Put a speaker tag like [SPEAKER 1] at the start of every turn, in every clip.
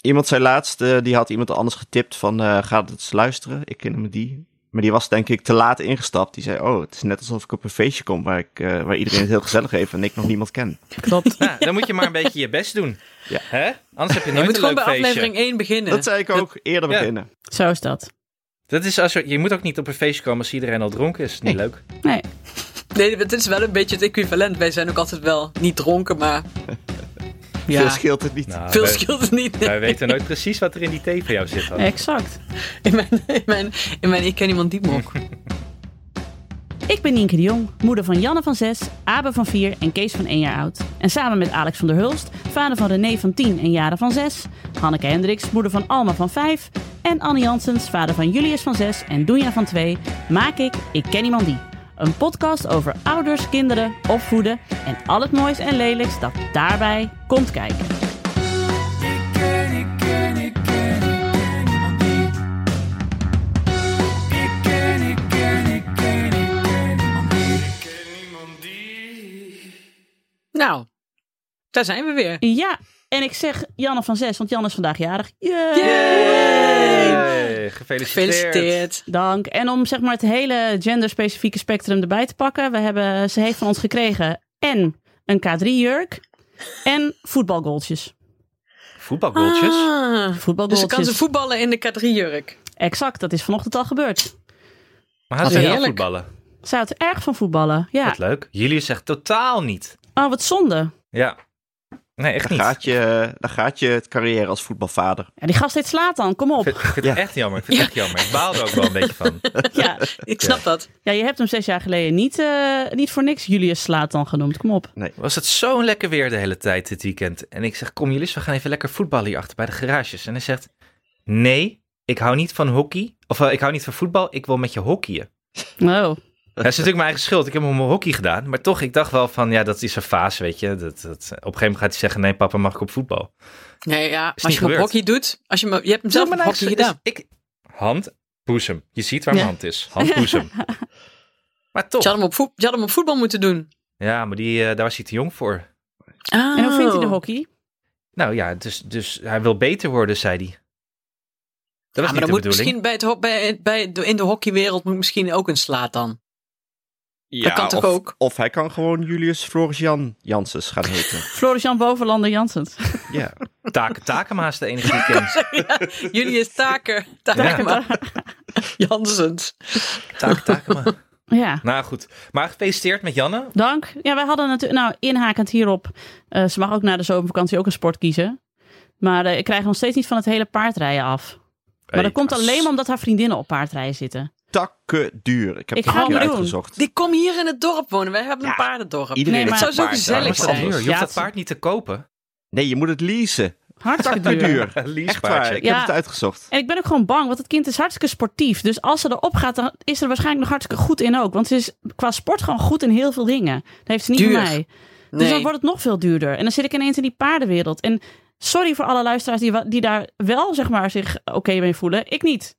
[SPEAKER 1] Iemand zei laatst, eh, die had iemand anders getipt van eh, ga het eens luisteren. Ik ken hem die. Maar die was denk ik te laat ingestapt. Die zei, oh, het is net alsof ik op een feestje kom waar, ik, eh, waar iedereen het heel gezellig heeft en ik nog niemand ken.
[SPEAKER 2] Klopt.
[SPEAKER 3] Nou, dan moet je maar een beetje je best doen.
[SPEAKER 1] Ja.
[SPEAKER 3] Hè? Anders heb je
[SPEAKER 2] Je
[SPEAKER 3] nooit
[SPEAKER 2] moet
[SPEAKER 3] een
[SPEAKER 2] gewoon
[SPEAKER 3] leuk
[SPEAKER 2] bij
[SPEAKER 3] feestje.
[SPEAKER 2] aflevering 1 beginnen.
[SPEAKER 1] Dat zei ik ook eerder
[SPEAKER 3] Ja.
[SPEAKER 1] beginnen.
[SPEAKER 4] Zo is dat.
[SPEAKER 3] Dat is als, je je moet ook niet op een feestje komen als iedereen al dronken is. Niet leuk.
[SPEAKER 4] Nee.
[SPEAKER 2] Nee, het is wel een beetje het equivalent. Wij zijn ook altijd wel niet dronken, maar... Ja,
[SPEAKER 1] Veel Dus scheelt het niet.
[SPEAKER 3] Nou,
[SPEAKER 2] veel
[SPEAKER 3] wij-
[SPEAKER 2] scheelt het niet.
[SPEAKER 3] Wij weten nooit precies wat er in die thee van jou zit. Hanne.
[SPEAKER 4] Exact.
[SPEAKER 2] In mijn, in mijn, in mijn Ik ken iemand die mok.
[SPEAKER 4] Ik ben Nienke de Jong, moeder van Janne van 6, Abe van 4 en Kees van 1 jaar oud. En samen met Alex van der Hulst, vader van René van 10 en Jaren van 6, Hanneke Hendricks, moeder van Alma van 5 en Annie Jansens, vader van Julius van 6 en Doenja van 2, maak ik Ik Ken Iemand Die. Een podcast over ouders, kinderen, opvoeden en al het moois en lelijks dat daarbij komt kijken.
[SPEAKER 2] Nou, daar zijn we weer.
[SPEAKER 4] Ja, en ik zeg Janne van 6, want Janne is vandaag jarig. Yay!
[SPEAKER 3] Hey, gefeliciteerd.
[SPEAKER 2] Gefeliciteerd.
[SPEAKER 4] Dank. En om zeg maar het hele genderspecifieke spectrum erbij te pakken. We hebben, ze heeft van ons gekregen en een K3-jurk en voetbalgoaltjes.
[SPEAKER 3] Voetbalgoaltjes.
[SPEAKER 2] Ah, dus ze
[SPEAKER 4] Voetbalgoaltjes.
[SPEAKER 2] Dus kan ze voetballen in de K3-jurk.
[SPEAKER 4] exact, dat is vanochtend al gebeurd.
[SPEAKER 3] Maar had
[SPEAKER 2] Wat
[SPEAKER 3] ze wel
[SPEAKER 2] heerlijk.
[SPEAKER 3] voetballen?
[SPEAKER 4] Ze houdt erg van voetballen. Ja.
[SPEAKER 3] Wat leuk. Jullie zegt totaal niet.
[SPEAKER 4] Oh, wat zonde.
[SPEAKER 3] Ja. Nee, echt
[SPEAKER 1] Dan
[SPEAKER 3] niet.
[SPEAKER 1] gaat, je, dan gaat je het carrière als voetbalvader.
[SPEAKER 4] Ja, die gast heet slaat dan. Kom
[SPEAKER 3] Ik vind,
[SPEAKER 4] op.
[SPEAKER 3] ik vind het echt jammer. Ik vind het echt jammer. Ik baal er ook wel een beetje van.
[SPEAKER 4] Ja.
[SPEAKER 2] Ik snap dat.
[SPEAKER 4] ja, je hebt hem zes jaar geleden niet, eh, niet voor niks Julius slaat dan genoemd. Kom op.
[SPEAKER 3] Was het zo'n lekker weer de hele tijd dit weekend. En ik zeg, kom jullie eens, we gaan even lekker voetballen hier achter bij de garages. En hij zegt, nee, ik hou niet van hockey. Of eh, ik hou niet van voetbal, ik wil met je hockeyen.
[SPEAKER 4] Oh.
[SPEAKER 3] Dat is natuurlijk mijn eigen schuld. Ik heb hem om hockey gedaan. Maar toch, ik dacht wel van, ja, dat is een fase, weet je. Dat, dat, op een gegeven moment gaat hij zeggen, nee papa, mag ik op voetbal?
[SPEAKER 2] Nee, ja, als
[SPEAKER 3] niet
[SPEAKER 2] je hem op
[SPEAKER 3] gebeurd.
[SPEAKER 2] hockey doet... Als je, hem, je hebt hem zelf
[SPEAKER 3] Zo,
[SPEAKER 2] op
[SPEAKER 3] maar
[SPEAKER 2] hockey
[SPEAKER 3] nou,
[SPEAKER 2] gedaan.
[SPEAKER 3] dus ik, hand, boezem. Je ziet waar mijn
[SPEAKER 4] Ja.
[SPEAKER 3] hand is. Hand, boezem. maar
[SPEAKER 2] Je had,
[SPEAKER 3] toch.
[SPEAKER 2] hem op voet, je had hem op voetbal moeten doen.
[SPEAKER 3] Ja, maar die, eh, daar was hij te jong voor.
[SPEAKER 4] En hoe vindt hij de
[SPEAKER 2] Oh.
[SPEAKER 4] hockey?
[SPEAKER 3] Nou ja, dus, dus hij wil beter worden, zei hij. Dat was
[SPEAKER 2] Ja, Ah, maar
[SPEAKER 3] niet
[SPEAKER 2] dan
[SPEAKER 3] de
[SPEAKER 2] moet
[SPEAKER 3] bedoeling.
[SPEAKER 2] misschien bij het, ho- bij, bij, de- in de hockeywereld moet misschien ook een slaat dan.
[SPEAKER 1] Ja,
[SPEAKER 2] kan toch
[SPEAKER 1] of,
[SPEAKER 2] ook?
[SPEAKER 1] Of hij kan gewoon Julius Floris Jan Janssens gaan heten.
[SPEAKER 4] Floris-Jan Bovenlander Janssens.
[SPEAKER 1] ja.
[SPEAKER 3] Taken, Takema is de enige die ik ken.
[SPEAKER 2] Jullie is Taker. Takema. Jansens.
[SPEAKER 3] Taken, Takema.
[SPEAKER 4] Ja.
[SPEAKER 3] Nou goed, maar gefeliciteerd met Janne.
[SPEAKER 4] Dank. Ja, wij hadden natuurlijk, nou, inhakend hierop. eh, ze mag ook na de zomervakantie ook een sport kiezen. Maar eh, ik krijg nog steeds niet van het hele paardrijden af. maar dat komt alleen maar omdat haar vriendinnen op paardrijden zitten.
[SPEAKER 1] Takken duur. Ik heb
[SPEAKER 4] Ik
[SPEAKER 1] het
[SPEAKER 4] ga
[SPEAKER 1] een keer
[SPEAKER 4] hem doen.
[SPEAKER 1] uitgezocht.
[SPEAKER 2] Die kom hier in het dorp wonen. Wij hebben een paardendorp.
[SPEAKER 1] Iedereen
[SPEAKER 4] Nee,
[SPEAKER 1] heeft
[SPEAKER 4] maar-
[SPEAKER 1] een
[SPEAKER 2] Zou zo
[SPEAKER 1] paard,
[SPEAKER 2] gezellig
[SPEAKER 1] daarom is het
[SPEAKER 2] zijn.
[SPEAKER 1] al
[SPEAKER 3] duur.
[SPEAKER 1] duur.
[SPEAKER 3] Je hoeft
[SPEAKER 4] Ja,
[SPEAKER 3] dat paard niet te kopen.
[SPEAKER 1] Nee, je moet het leasen.
[SPEAKER 4] Hartstikke
[SPEAKER 1] Takken
[SPEAKER 4] duur.
[SPEAKER 1] duur. Echt
[SPEAKER 3] Leasepaardje.
[SPEAKER 1] waar. Ik
[SPEAKER 4] Ja.
[SPEAKER 1] heb het uitgezocht.
[SPEAKER 4] En ik ben ook gewoon bang, want dat kind is hartstikke sportief. Dus als ze erop gaat, dan is ze er waarschijnlijk nog hartstikke goed in ook. Want ze is qua sport gewoon goed in heel veel dingen. Dat heeft ze niet
[SPEAKER 2] Duur.
[SPEAKER 4] van mij. Dus dan
[SPEAKER 2] Nee.
[SPEAKER 4] wordt het nog veel duurder. En dan zit ik ineens in die paardenwereld. En sorry voor alle luisteraars die, wa- die daar wel zeg maar, zich oké mee voelen. Ik niet.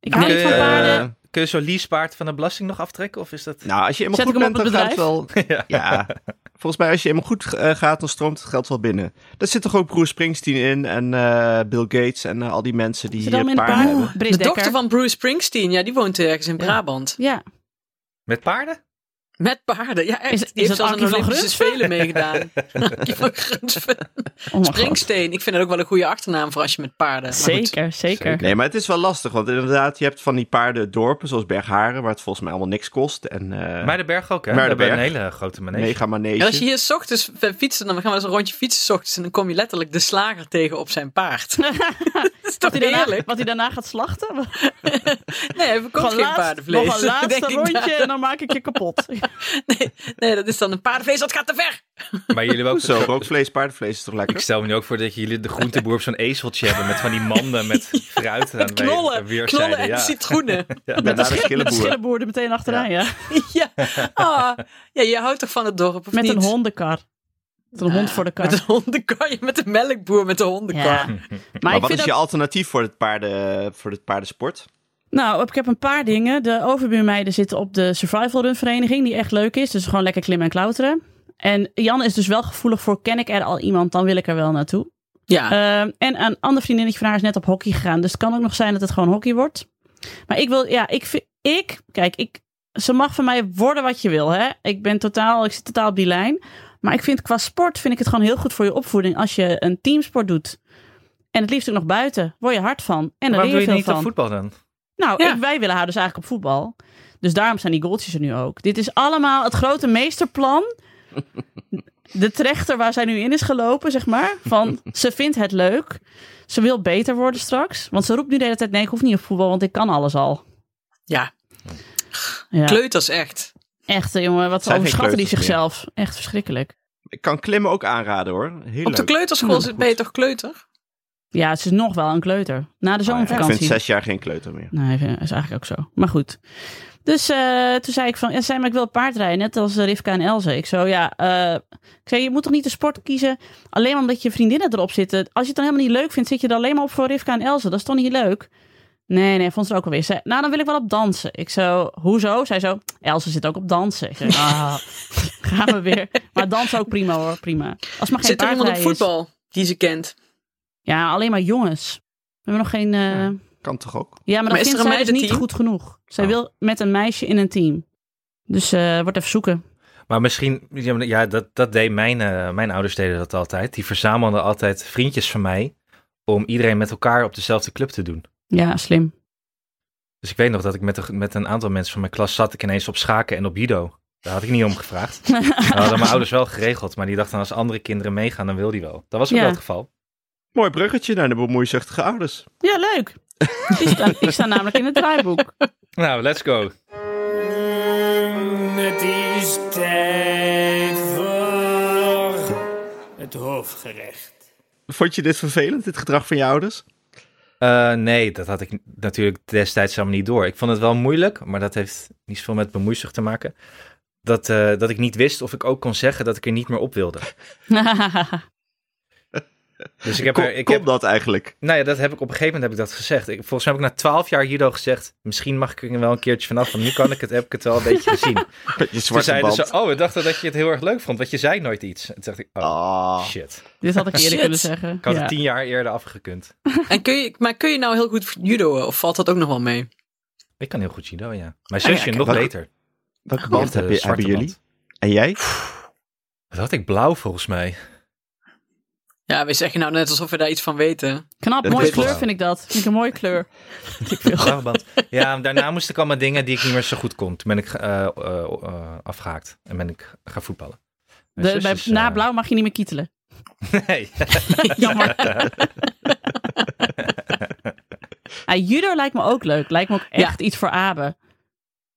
[SPEAKER 4] Ik hou
[SPEAKER 2] Nee.
[SPEAKER 4] niet van
[SPEAKER 3] Eh,
[SPEAKER 4] paarden.
[SPEAKER 3] Kun je zo'n leasepaard van de belasting nog aftrekken? Of is dat...
[SPEAKER 1] Nou, als je helemaal
[SPEAKER 4] Zet
[SPEAKER 1] goed
[SPEAKER 4] ik hem
[SPEAKER 1] bent,
[SPEAKER 4] op
[SPEAKER 1] dan
[SPEAKER 4] het
[SPEAKER 1] gaat het wel...
[SPEAKER 3] Ja.
[SPEAKER 1] Ja, volgens mij als je helemaal goed eh, gaat, dan stroomt het geld wel binnen. Daar zit toch ook Bruce Springsteen in en eh, Bill Gates en eh, al die mensen die
[SPEAKER 4] Zit allemaal
[SPEAKER 1] hier
[SPEAKER 4] in de
[SPEAKER 1] paarden
[SPEAKER 4] paarden.
[SPEAKER 1] hebben.
[SPEAKER 4] Bris
[SPEAKER 2] De
[SPEAKER 4] Dekker.
[SPEAKER 2] dochter van Bruce Springsteen. Ja, die woont ergens in Brabant.
[SPEAKER 4] Ja.
[SPEAKER 3] Met paarden?
[SPEAKER 2] Met paarden. Ja, echt.
[SPEAKER 4] Is-
[SPEAKER 2] Die heeft
[SPEAKER 4] is dat
[SPEAKER 2] zelfs aan de
[SPEAKER 4] Ankie van
[SPEAKER 2] Olympische
[SPEAKER 4] Grunsven?
[SPEAKER 2] Spelen meegedaan. Ankie van Grunsven.
[SPEAKER 4] Oh mijn god.
[SPEAKER 2] Springsteen. Ik vind dat ook wel een goede achternaam voor als je met paarden. Maar goed.
[SPEAKER 4] Zeker, zeker.
[SPEAKER 1] Nee, maar het is wel lastig, want inderdaad, je hebt van die paarden dorpen, zoals Bergharen, waar het volgens mij allemaal niks kost. En eh
[SPEAKER 3] Muidenberg ook, hè?
[SPEAKER 1] Muidenberg.
[SPEAKER 3] We hebben een hele grote manege.
[SPEAKER 1] mega
[SPEAKER 2] En als je
[SPEAKER 1] manege.
[SPEAKER 2] hier 's ochtends fietsen, dan gaan we eens een rondje fietsen 's ochtends en dan kom je letterlijk de slager tegen op zijn paard. dat is toch
[SPEAKER 4] Wat hij, daarna,
[SPEAKER 2] heerlijk?
[SPEAKER 4] wat hij daarna gaat slachten?
[SPEAKER 2] Nee, hij verkoopt
[SPEAKER 4] Gewoon
[SPEAKER 2] geen
[SPEAKER 4] laatst-
[SPEAKER 2] paardenvlees.
[SPEAKER 4] Nog een laatste
[SPEAKER 2] Denk ik daar.
[SPEAKER 4] rondje en dan maak ik je kapot.
[SPEAKER 2] Nee, dat is dan een paardenvlees, dat gaat te ver.
[SPEAKER 3] Maar jullie hebben ook
[SPEAKER 1] Zo, rookvlees, paardenvlees is toch
[SPEAKER 3] Ik
[SPEAKER 1] lekker?
[SPEAKER 3] stel me nu ook voor dat jullie de groenteboer op zo'n ezeltje hebben met van die manden met fruit aan bij- aan
[SPEAKER 2] Knollen,
[SPEAKER 3] weerszijden.
[SPEAKER 2] knollen en
[SPEAKER 3] ja.
[SPEAKER 2] citroenen.
[SPEAKER 3] Ja,
[SPEAKER 1] Met de
[SPEAKER 4] Met de
[SPEAKER 1] schillenboer.
[SPEAKER 4] schillenboer er meteen achteraan, ja.
[SPEAKER 2] ja. Ah, ja, je houdt toch van het dorp, of
[SPEAKER 4] Met
[SPEAKER 2] niet?
[SPEAKER 4] een hondenkar. Met een hond voor de kar.
[SPEAKER 2] Met een hondenkar, ja, met een melkboer met een hondenkar.
[SPEAKER 4] Ja. Maar
[SPEAKER 1] Maar
[SPEAKER 4] ik
[SPEAKER 1] wat
[SPEAKER 4] vind
[SPEAKER 1] is je
[SPEAKER 4] dat...
[SPEAKER 1] alternatief voor het, paarden, voor het paardensport?
[SPEAKER 4] Nou, ik heb een paar dingen. De overbuurmeiden zitten op de Survival Run vereniging, die echt leuk is. Dus gewoon lekker klimmen en klauteren. En Jan is dus wel gevoelig voor, ken ik er al iemand, dan wil ik er wel naartoe.
[SPEAKER 2] Ja,
[SPEAKER 4] Ehm, en een ander vriendinnetje van haar is net op hockey gegaan. Dus het kan ook nog zijn dat het gewoon hockey wordt. Maar ik wil, ja, ik, vind- ik kijk, ik, ze mag van mij worden wat je wil. Hè? Ik ben totaal, ik zit totaal op die lijn. Maar ik vind qua sport, vind ik het gewoon heel goed voor je opvoeding als je een teamsport doet. En het liefst ook nog buiten. Word je hard van. En daar
[SPEAKER 3] Waarom
[SPEAKER 4] leer
[SPEAKER 3] doe je
[SPEAKER 4] je veel
[SPEAKER 3] niet
[SPEAKER 4] van.
[SPEAKER 3] op voetbal dan?
[SPEAKER 4] Nou,
[SPEAKER 2] Ja.
[SPEAKER 4] ik- wij willen haar dus eigenlijk op voetbal. Dus daarom zijn die goaltjes er nu ook. Dit is allemaal het grote meesterplan. De trechter waar zij nu in is gelopen, zeg maar. Van, ze vindt het leuk. Ze wil beter worden straks. Want ze roept nu de hele tijd, nee, ik hoef niet op voetbal, want ik kan alles al.
[SPEAKER 2] ja.
[SPEAKER 4] Ja.
[SPEAKER 2] kleuters echt.
[SPEAKER 4] Echt, hè, jongen, wat
[SPEAKER 1] Zijn geen
[SPEAKER 4] overschatten die
[SPEAKER 1] kleuters meer.
[SPEAKER 4] zichzelf. Echt verschrikkelijk.
[SPEAKER 1] Ik kan klimmen ook aanraden hoor. Heel
[SPEAKER 2] Op de
[SPEAKER 1] leuk.
[SPEAKER 2] kleuterschool zit- ben je toch kleuter?
[SPEAKER 4] Ja, ze is nog wel een kleuter. Na de
[SPEAKER 1] Oh ik vind
[SPEAKER 4] zomervakantie.
[SPEAKER 1] zes jaar geen kleuter meer.
[SPEAKER 4] Nee, dat is eigenlijk ook zo. Maar goed. Dus eh, toen zei ik van, ja, zei maar ik wil paardrijden, net als eh, Rivka en Elze. Ik zo, ja, eh, ik zei, je moet toch niet de sport kiezen, alleen maar omdat je vriendinnen erop zitten. Als je het dan helemaal niet leuk vindt, zit je er alleen maar op voor Rivka en Elze. Dat is toch niet leuk? Nee, nee, vond ze er ook alweer. Zei, nou, dan wil ik wel op dansen. Ik zo, hoezo? Zij zo, Elze zit ook op dansen. Ik zei, ah, gaan we weer. Maar dansen ook prima hoor, prima. Als maar geen
[SPEAKER 2] Zit er iemand op
[SPEAKER 4] paardrijden is.
[SPEAKER 2] voetbal die ze kent?
[SPEAKER 4] Ja, alleen maar jongens. We hebben nog geen... eh,
[SPEAKER 1] Ja. Kan toch ook?
[SPEAKER 4] ja, maar,
[SPEAKER 2] Maar
[SPEAKER 4] dat
[SPEAKER 2] is er
[SPEAKER 4] vindt
[SPEAKER 2] een
[SPEAKER 4] zij dus niet
[SPEAKER 2] meidenteam?
[SPEAKER 4] goed genoeg. Zij
[SPEAKER 1] Oh.
[SPEAKER 4] wil met een meisje in een team. Dus eh wordt even zoeken.
[SPEAKER 3] Maar misschien, ja, maar ja, dat, dat deed mijn, eh, mijn ouders deden dat altijd. Die verzamelden altijd vriendjes van mij om iedereen met elkaar op dezelfde club te doen.
[SPEAKER 4] Ja, slim.
[SPEAKER 3] Dus ik weet nog dat ik met, een- met een aantal mensen van mijn klas zat ik ineens op schaken en op judo. Daar had ik niet om gevraagd. Dat hadden mijn ouders wel geregeld, maar die dachten als andere kinderen meegaan, dan wil die wel. Dat was ook
[SPEAKER 4] Ja.
[SPEAKER 3] wel het geval.
[SPEAKER 1] Mooi bruggetje naar de bemoeizuchtige ouders.
[SPEAKER 4] Ja, leuk. ik, sta, ik sta namelijk in het draaiboek.
[SPEAKER 3] Nou, let's go.
[SPEAKER 5] Het is tijd voor het hoofdgerecht.
[SPEAKER 1] Vond je dit vervelend, dit gedrag van je ouders?
[SPEAKER 3] Eh, nee, dat had ik n- natuurlijk destijds helemaal niet door. Ik vond het wel moeilijk, maar dat heeft niet zoveel met bemoeizucht te maken. Dat, eh, dat ik niet wist of ik ook kon zeggen dat ik er niet meer op wilde. Dus ik heb,
[SPEAKER 1] Kom,
[SPEAKER 3] er, ik
[SPEAKER 1] kom
[SPEAKER 3] heb,
[SPEAKER 1] dat eigenlijk?
[SPEAKER 3] nou ja, dat heb ik op een gegeven moment heb ik dat gezegd. Ik, volgens mij heb ik na twaalf jaar judo gezegd, misschien mag ik er wel een keertje vanaf, want nu kan ik het, heb ik het wel een beetje gezien.
[SPEAKER 1] Je
[SPEAKER 3] Toen
[SPEAKER 1] zwarte
[SPEAKER 3] zeiden
[SPEAKER 1] band.
[SPEAKER 3] ze, oh, we dachten dat je het heel erg leuk vond, want je zei nooit iets. En toen dacht ik, oh,
[SPEAKER 1] Ah.
[SPEAKER 3] shit.
[SPEAKER 4] Dit had ik eerder
[SPEAKER 2] Shit.
[SPEAKER 4] kunnen zeggen.
[SPEAKER 3] Ik had
[SPEAKER 4] Ja.
[SPEAKER 3] het tien jaar eerder afgekund.
[SPEAKER 2] En kun je, maar kun je nou heel goed judoën of valt dat ook nog wel mee?
[SPEAKER 3] Ik kan heel goed judo, ja. Mijn
[SPEAKER 2] ja,
[SPEAKER 3] zusje
[SPEAKER 2] kijk,
[SPEAKER 3] nog
[SPEAKER 1] wat-
[SPEAKER 3] beter.
[SPEAKER 1] Welke band
[SPEAKER 3] Die
[SPEAKER 1] heb je,
[SPEAKER 3] heeft, eh,
[SPEAKER 1] hebben
[SPEAKER 3] zwarte
[SPEAKER 1] jullie?
[SPEAKER 3] band.
[SPEAKER 1] En jij?
[SPEAKER 3] Wat had ik blauw volgens mij?
[SPEAKER 2] Ja, we zeggen nou net alsof we daar iets van weten.
[SPEAKER 4] Knap,
[SPEAKER 1] Dat
[SPEAKER 4] mooie
[SPEAKER 1] is
[SPEAKER 4] kleur
[SPEAKER 3] wel-
[SPEAKER 4] vind ik dat. Vind ik een mooie kleur.
[SPEAKER 3] Blauwe band. Ja, daarna moest ik allemaal dingen die ik niet meer zo goed kon. Toen ben ik eh, eh, eh, afgehaakt en ben ik gaan voetballen. Mijn
[SPEAKER 4] De,
[SPEAKER 3] zus
[SPEAKER 4] bij,
[SPEAKER 3] is,
[SPEAKER 4] na
[SPEAKER 3] eh,
[SPEAKER 4] blauw mag je niet meer kietelen.
[SPEAKER 3] Nee.
[SPEAKER 4] Jammer. Ah, judo lijkt me ook leuk. Lijkt me ook echt iets voor Abe.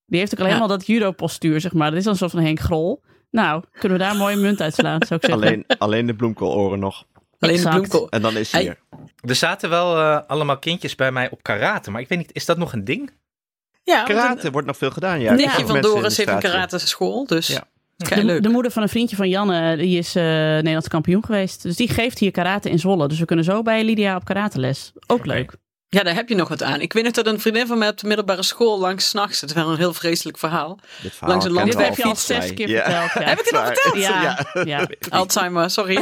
[SPEAKER 4] Die heeft ook alleen
[SPEAKER 2] Ja.
[SPEAKER 4] maar dat judo-postuur, zeg maar. Dat is dan een soort van Henk Grol. Nou, kunnen we daar mooie munt uit slaan, zou ik zeggen.
[SPEAKER 1] Alleen, alleen de bloemkooloren nog.
[SPEAKER 2] Alleen
[SPEAKER 4] Exact.
[SPEAKER 2] de bloemkool.
[SPEAKER 1] En dan is
[SPEAKER 2] Hey. oh,
[SPEAKER 1] hier.
[SPEAKER 3] Er zaten wel eh, allemaal kindjes bij mij op karate, maar ik weet niet, is dat nog een ding?
[SPEAKER 2] Ja, want een-
[SPEAKER 1] Karate wordt nog veel gedaan, ja.
[SPEAKER 2] Nichtje
[SPEAKER 1] Sommige
[SPEAKER 2] van
[SPEAKER 1] mensen in
[SPEAKER 2] Doris
[SPEAKER 1] de
[SPEAKER 2] heeft een
[SPEAKER 1] straat hier.
[SPEAKER 2] karate school, dus
[SPEAKER 1] Ja.
[SPEAKER 2] kei
[SPEAKER 4] De,
[SPEAKER 2] leuk.
[SPEAKER 4] de moeder van een vriendje van Janne, die is eh, Nederlands kampioen geweest. Dus die geeft hier karate in Zwolle. Dus we kunnen zo bij Lydia op karateles. Ook
[SPEAKER 3] Oké.
[SPEAKER 4] leuk.
[SPEAKER 2] Ja, daar heb je nog wat aan. Ik weet nog dat een vriendin van mij op de middelbare school langs 's nachts, het was een heel vreselijk verhaal.
[SPEAKER 1] Dit verhaal
[SPEAKER 2] Langs een
[SPEAKER 1] kent
[SPEAKER 2] land-
[SPEAKER 4] Dit
[SPEAKER 1] wel
[SPEAKER 4] heb je al
[SPEAKER 1] volgens
[SPEAKER 4] zes
[SPEAKER 1] mij.
[SPEAKER 4] keer
[SPEAKER 1] Ja.
[SPEAKER 4] verteld.
[SPEAKER 2] Heb ik
[SPEAKER 4] Ja.
[SPEAKER 2] het al
[SPEAKER 1] Waar-
[SPEAKER 2] verteld?
[SPEAKER 4] Ja, ja.
[SPEAKER 2] Alzheimer, sorry.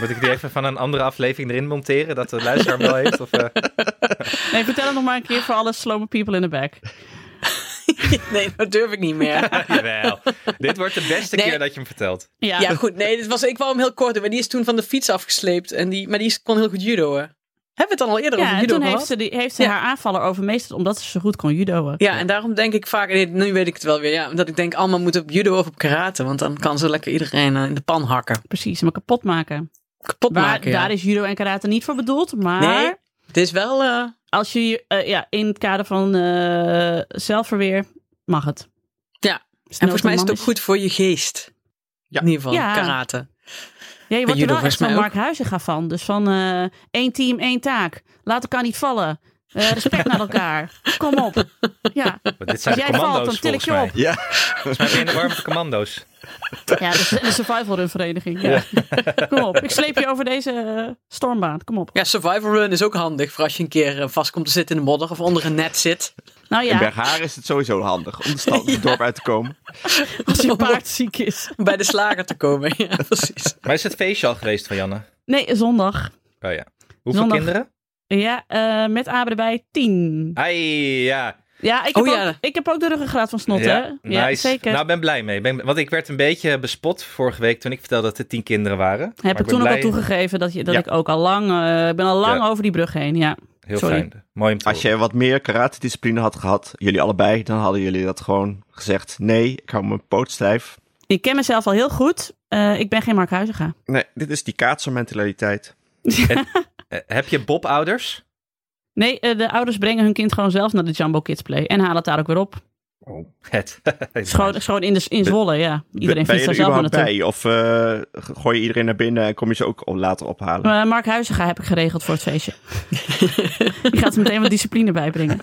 [SPEAKER 3] Moet ik die even van een andere aflevering erin monteren, dat de luisteraar hem wel heeft? Of, eh,
[SPEAKER 4] Nee, vertel het nog maar een keer voor alle slomer people in the back.
[SPEAKER 2] Nee, dat durf ik niet meer.
[SPEAKER 3] jawel. Dit wordt de beste
[SPEAKER 2] Nee.
[SPEAKER 3] keer dat je hem vertelt.
[SPEAKER 4] Ja,
[SPEAKER 2] Ja, goed. Nee, dit was, ik wou hem heel kort doen, maar die is toen van de fiets afgesleept. En die, maar die is- kon heel goed judoën. Hebben we het dan al eerder
[SPEAKER 4] Ja,
[SPEAKER 2] over
[SPEAKER 4] en
[SPEAKER 2] judo
[SPEAKER 4] toen
[SPEAKER 2] gehad?
[SPEAKER 4] heeft ze, die, heeft ze
[SPEAKER 2] Ja.
[SPEAKER 4] haar aanvaller overmeesterd omdat ze zo goed kon judoën.
[SPEAKER 2] Ja, en daarom denk ik vaak, nee, nu weet ik het wel weer, ja, omdat ik denk allemaal moeten op judo of op karate, want dan kan ze lekker iedereen eh, in de pan hakken.
[SPEAKER 4] Precies, hem kapot maken.
[SPEAKER 2] Kapot
[SPEAKER 4] Waar,
[SPEAKER 2] maken, ja.
[SPEAKER 4] Daar is judo en karate niet voor bedoeld. Maar
[SPEAKER 2] Nee. Het is wel, eh,
[SPEAKER 4] als je eh, ja, in het kader van eh, zelfverweer mag het.
[SPEAKER 2] Ja.
[SPEAKER 4] Dus
[SPEAKER 2] en volgens mij is het ook
[SPEAKER 4] noodman
[SPEAKER 2] goed voor je geest.
[SPEAKER 1] Ja.
[SPEAKER 2] In ieder geval,
[SPEAKER 4] Ja.
[SPEAKER 2] karate.
[SPEAKER 4] Ja, je wordt er
[SPEAKER 2] judo
[SPEAKER 4] wel echt
[SPEAKER 2] volgens mij
[SPEAKER 4] van
[SPEAKER 2] ook.
[SPEAKER 4] Mark Huizinga van. Dus van eh, één team, één taak. Laat elkaar niet vallen. Eh, respect naar elkaar. Kom op. Ja,
[SPEAKER 3] Want dit zijn de
[SPEAKER 4] Als jij valt,
[SPEAKER 3] commando's
[SPEAKER 4] dan til ik
[SPEAKER 3] volgens
[SPEAKER 4] je
[SPEAKER 3] mij.
[SPEAKER 4] op.
[SPEAKER 1] Ja,
[SPEAKER 3] Volgens mij ben je in de war met de commando's.
[SPEAKER 4] ja de, de survival run vereniging. Ja. Kom op. Ik sleep je over deze eh, stormbaan. Kom op.
[SPEAKER 2] Ja, survival run is ook handig voor als je een keer eh, vast komt te zitten in de modder of onder een net zit.
[SPEAKER 4] Nou
[SPEAKER 1] in
[SPEAKER 4] ja,
[SPEAKER 1] Bergharen is het sowieso handig om de stad het dorp uit te komen.
[SPEAKER 4] als je paard ziek is.
[SPEAKER 2] Om bij de slager te komen. Ja, precies.
[SPEAKER 3] Maar is het feestje al geweest van Janne?
[SPEAKER 4] Nee, zondag.
[SPEAKER 3] Oh ja. Hoeveel
[SPEAKER 4] Zondag.
[SPEAKER 3] kinderen?
[SPEAKER 4] Ja, eh, met Abe erbij tien.
[SPEAKER 3] Ai, ja.
[SPEAKER 4] Ja, ik heb,
[SPEAKER 2] Oh, ja.
[SPEAKER 4] Ook, ik heb ook de ruggengraat van snot, hè?
[SPEAKER 3] ja,
[SPEAKER 4] Ja,
[SPEAKER 3] nice.
[SPEAKER 4] zeker.
[SPEAKER 3] Nou, ik ben blij mee. Ik Ben, want ik werd een beetje bespot vorige week toen ik vertelde dat er tien kinderen waren. Maar
[SPEAKER 4] heb
[SPEAKER 3] ben
[SPEAKER 4] ik toen ook al
[SPEAKER 3] blij.
[SPEAKER 4] toegegeven dat, je, dat
[SPEAKER 3] Ja.
[SPEAKER 4] ik ook al lang... eh, ik ben al lang
[SPEAKER 3] Ja.
[SPEAKER 4] over die brug heen, ja.
[SPEAKER 3] Heel
[SPEAKER 4] Sorry.
[SPEAKER 3] fijn. Mooi om te
[SPEAKER 1] Als je wat meer karate-discipline had gehad, jullie allebei, dan hadden jullie dat gewoon gezegd. Nee, ik hou mijn poot stijf.
[SPEAKER 4] Ik ken mezelf al heel goed. Eh, ik ben geen Mark Huizinga.
[SPEAKER 1] Nee, dit is die kaatsermentaliteit.
[SPEAKER 3] horen. Eh, heb je Bob-ouders?
[SPEAKER 4] Nee, eh, de ouders brengen hun kind gewoon zelf naar de Jumbo Kids Play. En halen het daar ook weer op.
[SPEAKER 3] Het.
[SPEAKER 4] Het is gewoon, het is gewoon in, de, in Zwolle, ja. Iedereen
[SPEAKER 1] ben je
[SPEAKER 4] fietst daar
[SPEAKER 1] er
[SPEAKER 4] zelf aan
[SPEAKER 1] überhaupt
[SPEAKER 4] naartoe.
[SPEAKER 1] bij? Of eh, gooi je iedereen naar binnen en kom je ze ook op- later ophalen?
[SPEAKER 4] Eh, Mark Huizinga heb ik geregeld voor het feestje. Die gaat ze meteen wat discipline bijbrengen.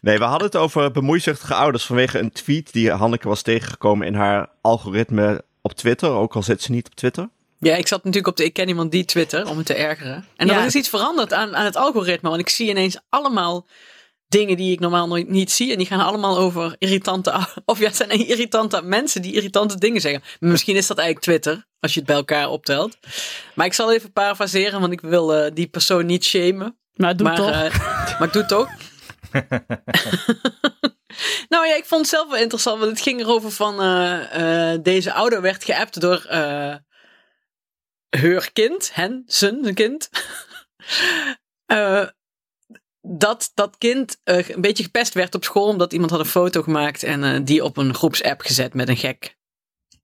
[SPEAKER 1] Nee, we hadden het over bemoeizuchtige ouders vanwege een tweet die Hanneke was tegengekomen in haar algoritme op Twitter, ook al zit ze niet op Twitter.
[SPEAKER 2] Ja, ik zat natuurlijk op de ik ken iemand die Twitter om het te ergeren. En
[SPEAKER 4] Ja.
[SPEAKER 2] er is iets veranderd aan, aan het algoritme, want ik zie ineens allemaal dingen die ik normaal nooit niet zie. En die gaan allemaal over irritante, ou- of ja, het zijn irritante mensen die irritante dingen zeggen. Maar Misschien is dat eigenlijk Twitter, als je het bij elkaar optelt. Maar ik zal even parafraseren, want ik wil eh, die persoon niet shamen.
[SPEAKER 4] Maar doe
[SPEAKER 2] maar,
[SPEAKER 4] toch.
[SPEAKER 2] eh, maar ik doe het ook. nou ja, ik vond het zelf wel interessant, want het ging erover van eh, eh, deze ouder werd geappt door eh haar kind, hen, zijn, zijn kind. Eh, dat dat kind eh, een beetje gepest werd op school omdat iemand had een foto gemaakt en eh, die op een groepsapp gezet met een gek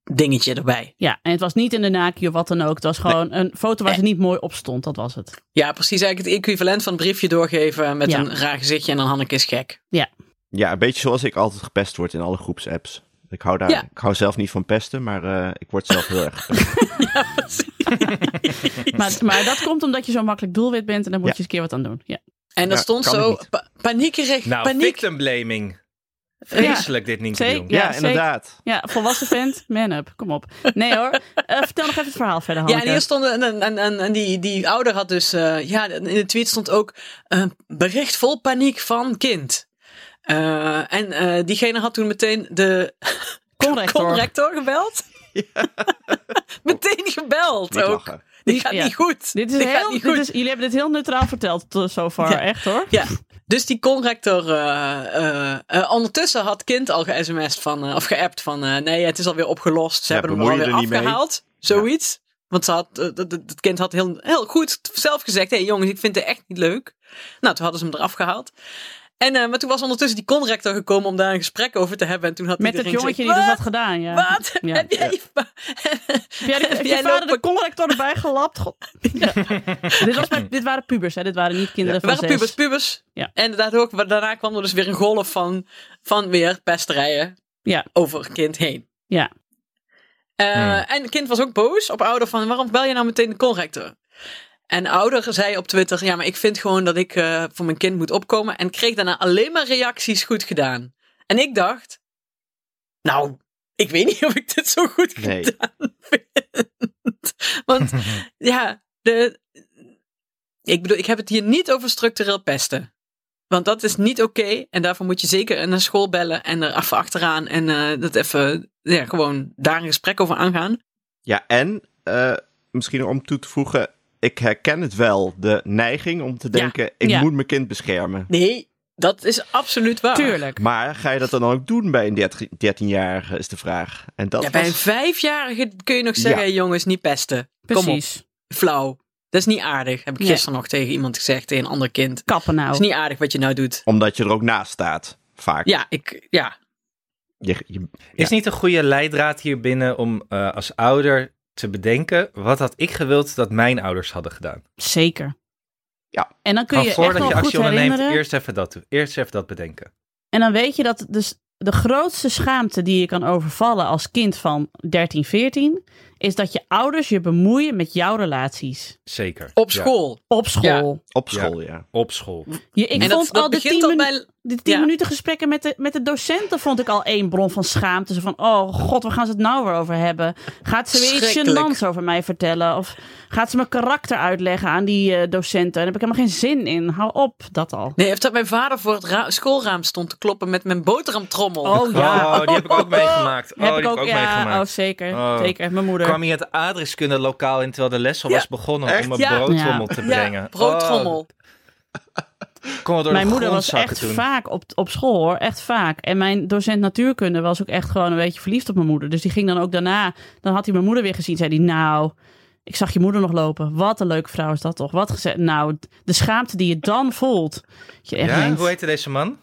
[SPEAKER 2] dingetje erbij.
[SPEAKER 4] Ja, en het was niet in de naki of wat dan ook. Het was gewoon een foto
[SPEAKER 1] Eh.
[SPEAKER 4] waar ze niet mooi op stond. Dat was het.
[SPEAKER 2] Ja, precies eigenlijk het equivalent van een briefje doorgeven met
[SPEAKER 4] Ja.
[SPEAKER 2] een raar gezichtje en dan Hanneke is gek.
[SPEAKER 1] Ja, een beetje zoals ik altijd gepest word in alle groepsapps. Ik hou, daar,
[SPEAKER 2] Ja.
[SPEAKER 1] ik hou zelf niet van pesten, maar eh, ik word zelf heel erg gepest.
[SPEAKER 4] Maar, maar dat komt omdat je zo makkelijk doelwit bent. En daar moet
[SPEAKER 1] Ja.
[SPEAKER 4] je eens een keer wat aan doen. Ja.
[SPEAKER 2] En daar
[SPEAKER 1] Ja,
[SPEAKER 2] stond
[SPEAKER 1] kan
[SPEAKER 2] zo
[SPEAKER 1] ik niet.
[SPEAKER 2] pa- paniekerig,
[SPEAKER 3] nou,
[SPEAKER 2] paniek.
[SPEAKER 3] victim blaming. Vreselijk dit, Nienke de
[SPEAKER 4] Zeker.
[SPEAKER 3] Jong.
[SPEAKER 1] ja,
[SPEAKER 4] Ja,
[SPEAKER 1] inderdaad.
[SPEAKER 4] Ja, volwassen vent, man up. Kom op. Nee hoor. Eh, vertel nog even het verhaal verder,
[SPEAKER 2] Ja,
[SPEAKER 4] Hanneke.
[SPEAKER 2] en hier stond en, en, en, en die, die ouder had dus, eh, ja, in de tweet stond ook een bericht vol paniek van kind. Eh, en eh, diegene had toen meteen de
[SPEAKER 4] Conrector.
[SPEAKER 2] conrector gebeld. meteen gebeld
[SPEAKER 1] Niet
[SPEAKER 2] ook.
[SPEAKER 1] lachen.
[SPEAKER 2] Die gaat
[SPEAKER 4] Ja.
[SPEAKER 2] niet goed.
[SPEAKER 4] Dit is
[SPEAKER 2] Die gaat
[SPEAKER 4] heel,
[SPEAKER 2] niet
[SPEAKER 4] dit
[SPEAKER 2] goed.
[SPEAKER 4] is, jullie hebben dit heel neutraal verteld tot zover,
[SPEAKER 2] Ja.
[SPEAKER 4] echt hoor.
[SPEAKER 2] Ja, dus die conrector. eh, eh, eh, ondertussen had kind al ge-sms'd van. eh, of geappt van. eh, nee, het is alweer opgelost. Ze
[SPEAKER 1] Ja,
[SPEAKER 2] hebben hem
[SPEAKER 1] bemoei je
[SPEAKER 2] alweer
[SPEAKER 1] er niet mee.
[SPEAKER 2] afgehaald. Zoiets. Want ze had, eh, dat- dat- het kind had heel, heel goed zelf gezegd: hé hey, jongens, ik vind het echt niet leuk. Nou, toen hadden ze hem eraf gehaald. En, eh, maar toen was ondertussen die conrector gekomen om daar een gesprek over te hebben. En toen had
[SPEAKER 4] Met het
[SPEAKER 2] iedereen
[SPEAKER 4] jongetje die
[SPEAKER 2] gezegd,
[SPEAKER 4] dat had
[SPEAKER 2] "Wat?
[SPEAKER 4] gedaan, ja.
[SPEAKER 2] Wat?
[SPEAKER 4] Ja.
[SPEAKER 2] Heb jij je va-
[SPEAKER 4] Heb jij, heb
[SPEAKER 2] Heb
[SPEAKER 4] je
[SPEAKER 2] jij
[SPEAKER 4] vader de
[SPEAKER 2] lopen-
[SPEAKER 4] conrector erbij gelapt? God. Ja. dit, was maar- dit waren pubers, hè? Dit waren niet kinderen
[SPEAKER 2] We
[SPEAKER 4] van
[SPEAKER 2] waren
[SPEAKER 4] zes.
[SPEAKER 2] pubers, pubers.
[SPEAKER 4] Ja.
[SPEAKER 2] En inderdaad ook, maar daarna kwam er dus weer een golf van, van weer pesterijen
[SPEAKER 4] Ja.
[SPEAKER 2] over kind heen.
[SPEAKER 4] Ja.
[SPEAKER 2] Eh,
[SPEAKER 3] Hmm.
[SPEAKER 2] En het kind was ook boos op ouder van, waarom bel je nou meteen de conrector? En ouder zei op Twitter, ja, maar ik vind gewoon dat ik eh, voor mijn kind moet opkomen. En kreeg daarna alleen maar reacties goed gedaan. En ik dacht, nou, ik weet niet of ik dit zo goed
[SPEAKER 1] Nee.
[SPEAKER 2] gedaan vind. Want ja, de, ik bedoel, ik heb het hier niet over structureel pesten. Want dat is niet oké. en daarvoor moet je zeker naar school bellen en er even achteraan. En eh, dat even, ja, gewoon daar een gesprek over aangaan.
[SPEAKER 1] Ja, en eh, misschien om toe te voegen, ik herken het wel, de neiging om te denken, ik
[SPEAKER 4] ja.
[SPEAKER 1] moet mijn kind beschermen.
[SPEAKER 2] Nee, dat is absoluut waar.
[SPEAKER 4] Tuurlijk.
[SPEAKER 1] Maar ga je dat dan ook doen bij een 13 13-jarige, is de vraag. En dat
[SPEAKER 2] Ja, bij een
[SPEAKER 1] was-
[SPEAKER 2] vijfjarige kun je nog zeggen,
[SPEAKER 1] Ja.
[SPEAKER 2] "Hey, jongens, niet pesten. Kom op,
[SPEAKER 4] Precies.
[SPEAKER 2] flauw. Dat is niet aardig, heb ik
[SPEAKER 4] Nee.
[SPEAKER 2] gisteren nog tegen iemand gezegd, tegen een ander kind.
[SPEAKER 4] Kappen nou.
[SPEAKER 2] Dat is niet aardig wat je nou doet.
[SPEAKER 1] Omdat je er ook naast staat, vaak.
[SPEAKER 2] Ja, ik, ja.
[SPEAKER 1] Je- je-
[SPEAKER 3] Is niet een goede leidraad hier binnen om eh, als ouder te bedenken wat had ik gewild dat mijn ouders hadden gedaan?
[SPEAKER 4] Zeker.
[SPEAKER 1] Ja.
[SPEAKER 4] En dan kun
[SPEAKER 3] Van
[SPEAKER 4] je echt
[SPEAKER 3] voordat
[SPEAKER 4] wel
[SPEAKER 3] je
[SPEAKER 4] goed
[SPEAKER 3] actie onderneemt,
[SPEAKER 4] herinneren.
[SPEAKER 3] eerst even dat doen. Eerst even dat bedenken.
[SPEAKER 4] En dan weet je dat dus de grootste schaamte die je kan overvallen als kind van 13, 14, is dat je ouders je bemoeien met jouw relaties.
[SPEAKER 3] Zeker.
[SPEAKER 2] Op
[SPEAKER 3] Ja,
[SPEAKER 2] school.
[SPEAKER 4] Op school.
[SPEAKER 1] op school, ja.
[SPEAKER 3] op school. Oh,
[SPEAKER 4] Je, ik
[SPEAKER 2] En dat,
[SPEAKER 4] vond
[SPEAKER 2] dat
[SPEAKER 4] al de
[SPEAKER 2] begint
[SPEAKER 4] 10
[SPEAKER 2] al
[SPEAKER 4] minuten.
[SPEAKER 2] bij
[SPEAKER 4] De tien
[SPEAKER 2] Ja.
[SPEAKER 4] minuten gesprekken met de, met de docenten vond ik al één bron van schaamte. Zo van, oh god, waar gaan ze het nou weer over hebben? Gaat ze weer iets
[SPEAKER 2] Schrikkelijk.
[SPEAKER 4] gênants over mij vertellen? Of gaat ze mijn karakter uitleggen aan die eh, docenten? Daar heb ik helemaal geen zin in. Hou op, dat al.
[SPEAKER 2] Nee, heeft dat mijn vader voor het ra- schoolraam stond te kloppen met mijn boterhamtrommel.
[SPEAKER 4] Oh ja,
[SPEAKER 3] Oh, die heb ik ook meegemaakt. Oh,
[SPEAKER 4] heb
[SPEAKER 3] die
[SPEAKER 4] ik ook, ja, oh
[SPEAKER 3] meegemaakt.
[SPEAKER 4] zeker,
[SPEAKER 3] Oh.
[SPEAKER 4] zeker. Mijn moeder.
[SPEAKER 3] kwam hij het adreskunde lokaal in terwijl de les al
[SPEAKER 2] Ja,
[SPEAKER 3] was begonnen
[SPEAKER 1] echt?
[SPEAKER 3] om een
[SPEAKER 2] Ja.
[SPEAKER 3] broodtrommel
[SPEAKER 4] Ja.
[SPEAKER 3] te
[SPEAKER 2] Ja,
[SPEAKER 3] brengen.
[SPEAKER 2] broodtrommel.
[SPEAKER 3] Oh, kon het door
[SPEAKER 4] Mijn
[SPEAKER 3] de
[SPEAKER 4] moeder
[SPEAKER 3] grond
[SPEAKER 4] was
[SPEAKER 3] zakken
[SPEAKER 4] echt
[SPEAKER 3] toen.
[SPEAKER 4] vaak op, op school hoor, echt vaak. En mijn docent natuurkunde was ook echt gewoon een beetje verliefd op mijn moeder. Dus die ging dan ook daarna, dan had hij mijn moeder weer gezien. Zei die, nou, ik zag je moeder nog lopen. Wat een leuke vrouw is dat toch? Wat gezegd, nou, de schaamte die je dan voelt. Dat Je echt
[SPEAKER 3] Ja,
[SPEAKER 4] denkt,
[SPEAKER 3] hoe heette deze man?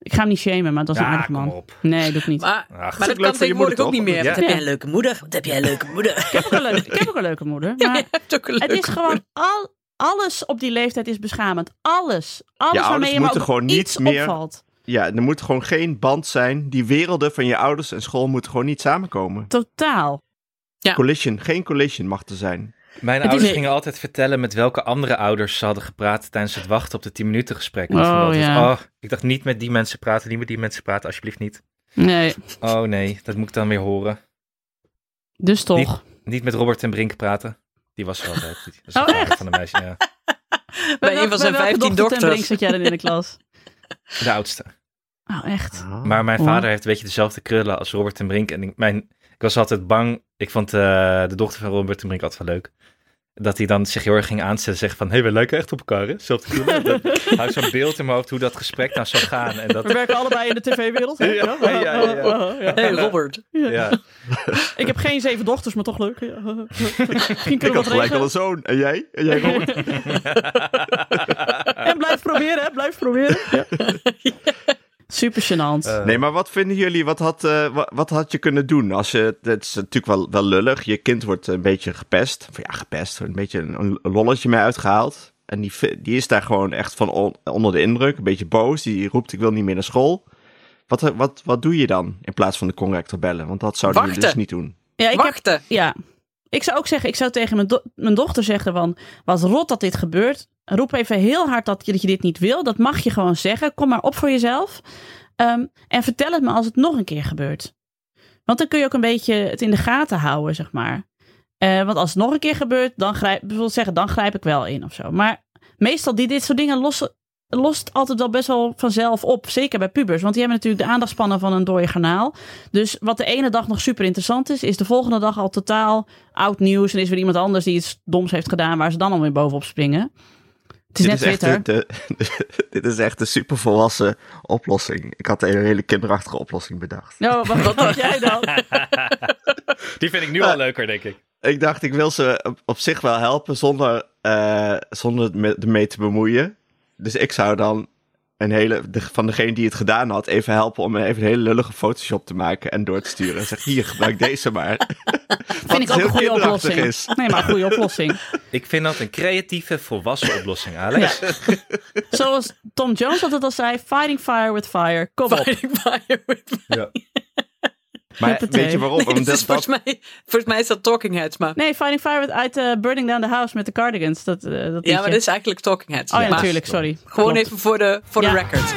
[SPEAKER 4] ik ga hem niet shamen, maar dat is een
[SPEAKER 3] Ja,
[SPEAKER 4] aardige
[SPEAKER 3] kom
[SPEAKER 4] man.
[SPEAKER 3] op.
[SPEAKER 4] Nee, doe ik niet.
[SPEAKER 2] Maar,
[SPEAKER 3] Ach,
[SPEAKER 2] maar
[SPEAKER 1] is ook
[SPEAKER 2] dat
[SPEAKER 1] leuk
[SPEAKER 2] kan
[SPEAKER 1] Ah, voor je moeder,
[SPEAKER 2] tegenwoordig ook
[SPEAKER 1] toch?
[SPEAKER 2] niet meer.
[SPEAKER 3] Ja.
[SPEAKER 2] Wat heb jij een leuke moeder? Wat heb jij een leuke moeder?
[SPEAKER 4] Ik heb, ook een leuke, ik heb ook een leuke moeder. Maar
[SPEAKER 2] Je hebt ook een
[SPEAKER 4] het
[SPEAKER 2] leuke
[SPEAKER 4] is gewoon al, alles op die leeftijd is beschamend. Alles. Alles
[SPEAKER 1] ouders
[SPEAKER 4] waarmee je maar
[SPEAKER 1] moeten
[SPEAKER 4] ook
[SPEAKER 1] gewoon
[SPEAKER 4] iets
[SPEAKER 1] niet meer-
[SPEAKER 4] opvalt.
[SPEAKER 1] Ja, er moet gewoon geen band zijn. Die werelden van je ouders en school moeten gewoon niet samenkomen.
[SPEAKER 4] Totaal.
[SPEAKER 1] Collision, geen collision mag er zijn.
[SPEAKER 3] Mijn
[SPEAKER 4] Het is-
[SPEAKER 3] ouders gingen altijd vertellen met welke andere ouders ze hadden gepraat tijdens het wachten op de 10 minuten gesprek. En ik vond
[SPEAKER 4] Oh,
[SPEAKER 3] altijd,
[SPEAKER 4] ja.
[SPEAKER 3] oh, ik dacht niet met die mensen praten, niet met die mensen praten, alsjeblieft niet.
[SPEAKER 4] Nee,
[SPEAKER 3] Oh nee, dat moet ik dan weer horen.
[SPEAKER 4] dus toch.
[SPEAKER 3] Niet, niet met Robert en Brink praten. Die was er altijd. Die- Dat is
[SPEAKER 4] Oh,
[SPEAKER 3] een vader van de meisje, ja.
[SPEAKER 2] Bij een van zijn
[SPEAKER 4] welke
[SPEAKER 2] 15
[SPEAKER 4] dochter ten
[SPEAKER 2] dokters.
[SPEAKER 4] Brink zat jij dan in de klas?
[SPEAKER 3] De oudste.
[SPEAKER 4] Oh, echt?
[SPEAKER 3] Maar mijn
[SPEAKER 4] Oh.
[SPEAKER 3] vader heeft een beetje dezelfde krullen als Robert ten Brink. En ik, mijn, ik was altijd bang. Ik vond eh, de dochter van Robert ten Brink altijd wel leuk. Dat hij dan zich heel erg ging aanzetten. Zeggen van, hé, hey, we lijken echt op elkaar, hè? Zelfde krullen. Dan hou ik zo'n beeld in mijn hoofd hoe dat gesprek nou zou gaan. En
[SPEAKER 4] We
[SPEAKER 3] dat,
[SPEAKER 4] werken allebei in de tv-wereld. hè?
[SPEAKER 3] Ja, ja, ja, ja.
[SPEAKER 2] Hey Robert.
[SPEAKER 3] ja.
[SPEAKER 4] Ik heb geen zeven dochters, maar toch leuk. Ja. Misschien
[SPEAKER 1] Ik
[SPEAKER 4] kunnen we
[SPEAKER 1] had gelijk
[SPEAKER 4] wat
[SPEAKER 1] al
[SPEAKER 4] regelen.
[SPEAKER 1] een zoon. En jij? En jij Robert?
[SPEAKER 4] En blijf proberen, hè? Blijf proberen. Super gênant.
[SPEAKER 3] Eh,
[SPEAKER 1] Nee, maar wat vinden jullie? Wat had, eh, wa- wat had je kunnen doen? Als je, het is natuurlijk wel, wel lullig. Je kind wordt een beetje gepest. Of ja, gepest. Een beetje een, een lolletje mee uitgehaald. En die, vi- die is daar gewoon echt van on- onder de indruk. Een beetje boos. Die roept: Ik wil niet meer naar school. Wat, eh, wat, wat doe je dan in plaats van de Conrect te bellen? Want dat zouden jullie dus
[SPEAKER 2] Wachten.
[SPEAKER 1] niet doen.
[SPEAKER 4] ja, ik heb,
[SPEAKER 2] Wachten.
[SPEAKER 4] ja, ik zou ook zeggen, ik zou tegen mijn, do- mijn dochter zeggen van, wat rot dat dit gebeurt. Roep even heel hard dat je, dat je dit niet wil. Dat mag je gewoon zeggen. Kom maar op voor jezelf. Ehm, en vertel het me als het nog een keer gebeurt. Want dan kun je ook een beetje het in de gaten houden, zeg maar. Eh, want als het nog een keer gebeurt, dan grijp, bijvoorbeeld zeggen, dan grijp ik wel in of zo. Maar meestal, die, dit soort dingen lossen, lost het altijd wel best wel vanzelf op. Zeker bij pubers. Want die hebben natuurlijk de aandachtspannen van een dode garnaal. Dus wat de ene dag nog super interessant is, is de volgende dag al totaal oud nieuws. En is weer iemand anders die iets doms heeft gedaan waar ze dan alweer bovenop springen. Het is net
[SPEAKER 1] dit, is
[SPEAKER 4] Twitter.
[SPEAKER 1] echt de, de- dit is echt een supervolwassen oplossing. Ik had een hele kinderachtige oplossing bedacht.
[SPEAKER 4] Nou, wat, wat had jij dan?
[SPEAKER 3] Die vind ik nu al leuker, denk ik.
[SPEAKER 1] Ik dacht, ik wil ze op, op zich wel helpen zonder, eh zonder het me- ermee te bemoeien. Dus ik zou dan een hele, de- van degene die het gedaan had even helpen om even een hele lullige Photoshop te maken en door te sturen. Zeg, hier, gebruik deze maar.
[SPEAKER 4] Vind ik ook een goede oplossing.
[SPEAKER 1] Is.
[SPEAKER 4] Nee, maar een goede oplossing.
[SPEAKER 3] Ik vind dat een creatieve, volwassen oplossing, Alex.
[SPEAKER 4] Zoals Tom Jones altijd al zei, fighting fire with fire. Kom op.
[SPEAKER 2] Fighting fire with me.
[SPEAKER 1] Maar
[SPEAKER 4] Huppatee.
[SPEAKER 1] weet je waarom?
[SPEAKER 2] Nee, dat
[SPEAKER 1] Omdat
[SPEAKER 2] is volgens,
[SPEAKER 1] dat,
[SPEAKER 2] mij, volgens mij is dat Talking Heads, maar...
[SPEAKER 4] Nee, fighting fire with, uit eh, Burning Down the House met de Cardigans. Dat, eh, dat
[SPEAKER 2] Ja, maar
[SPEAKER 4] liedje.
[SPEAKER 2] dit is eigenlijk Talking Heads.
[SPEAKER 4] Oh ja,
[SPEAKER 2] Maar
[SPEAKER 4] natuurlijk, sorry.
[SPEAKER 2] Gewoon
[SPEAKER 4] Klopt.
[SPEAKER 2] even voor de, voor
[SPEAKER 4] Ja.
[SPEAKER 2] de record.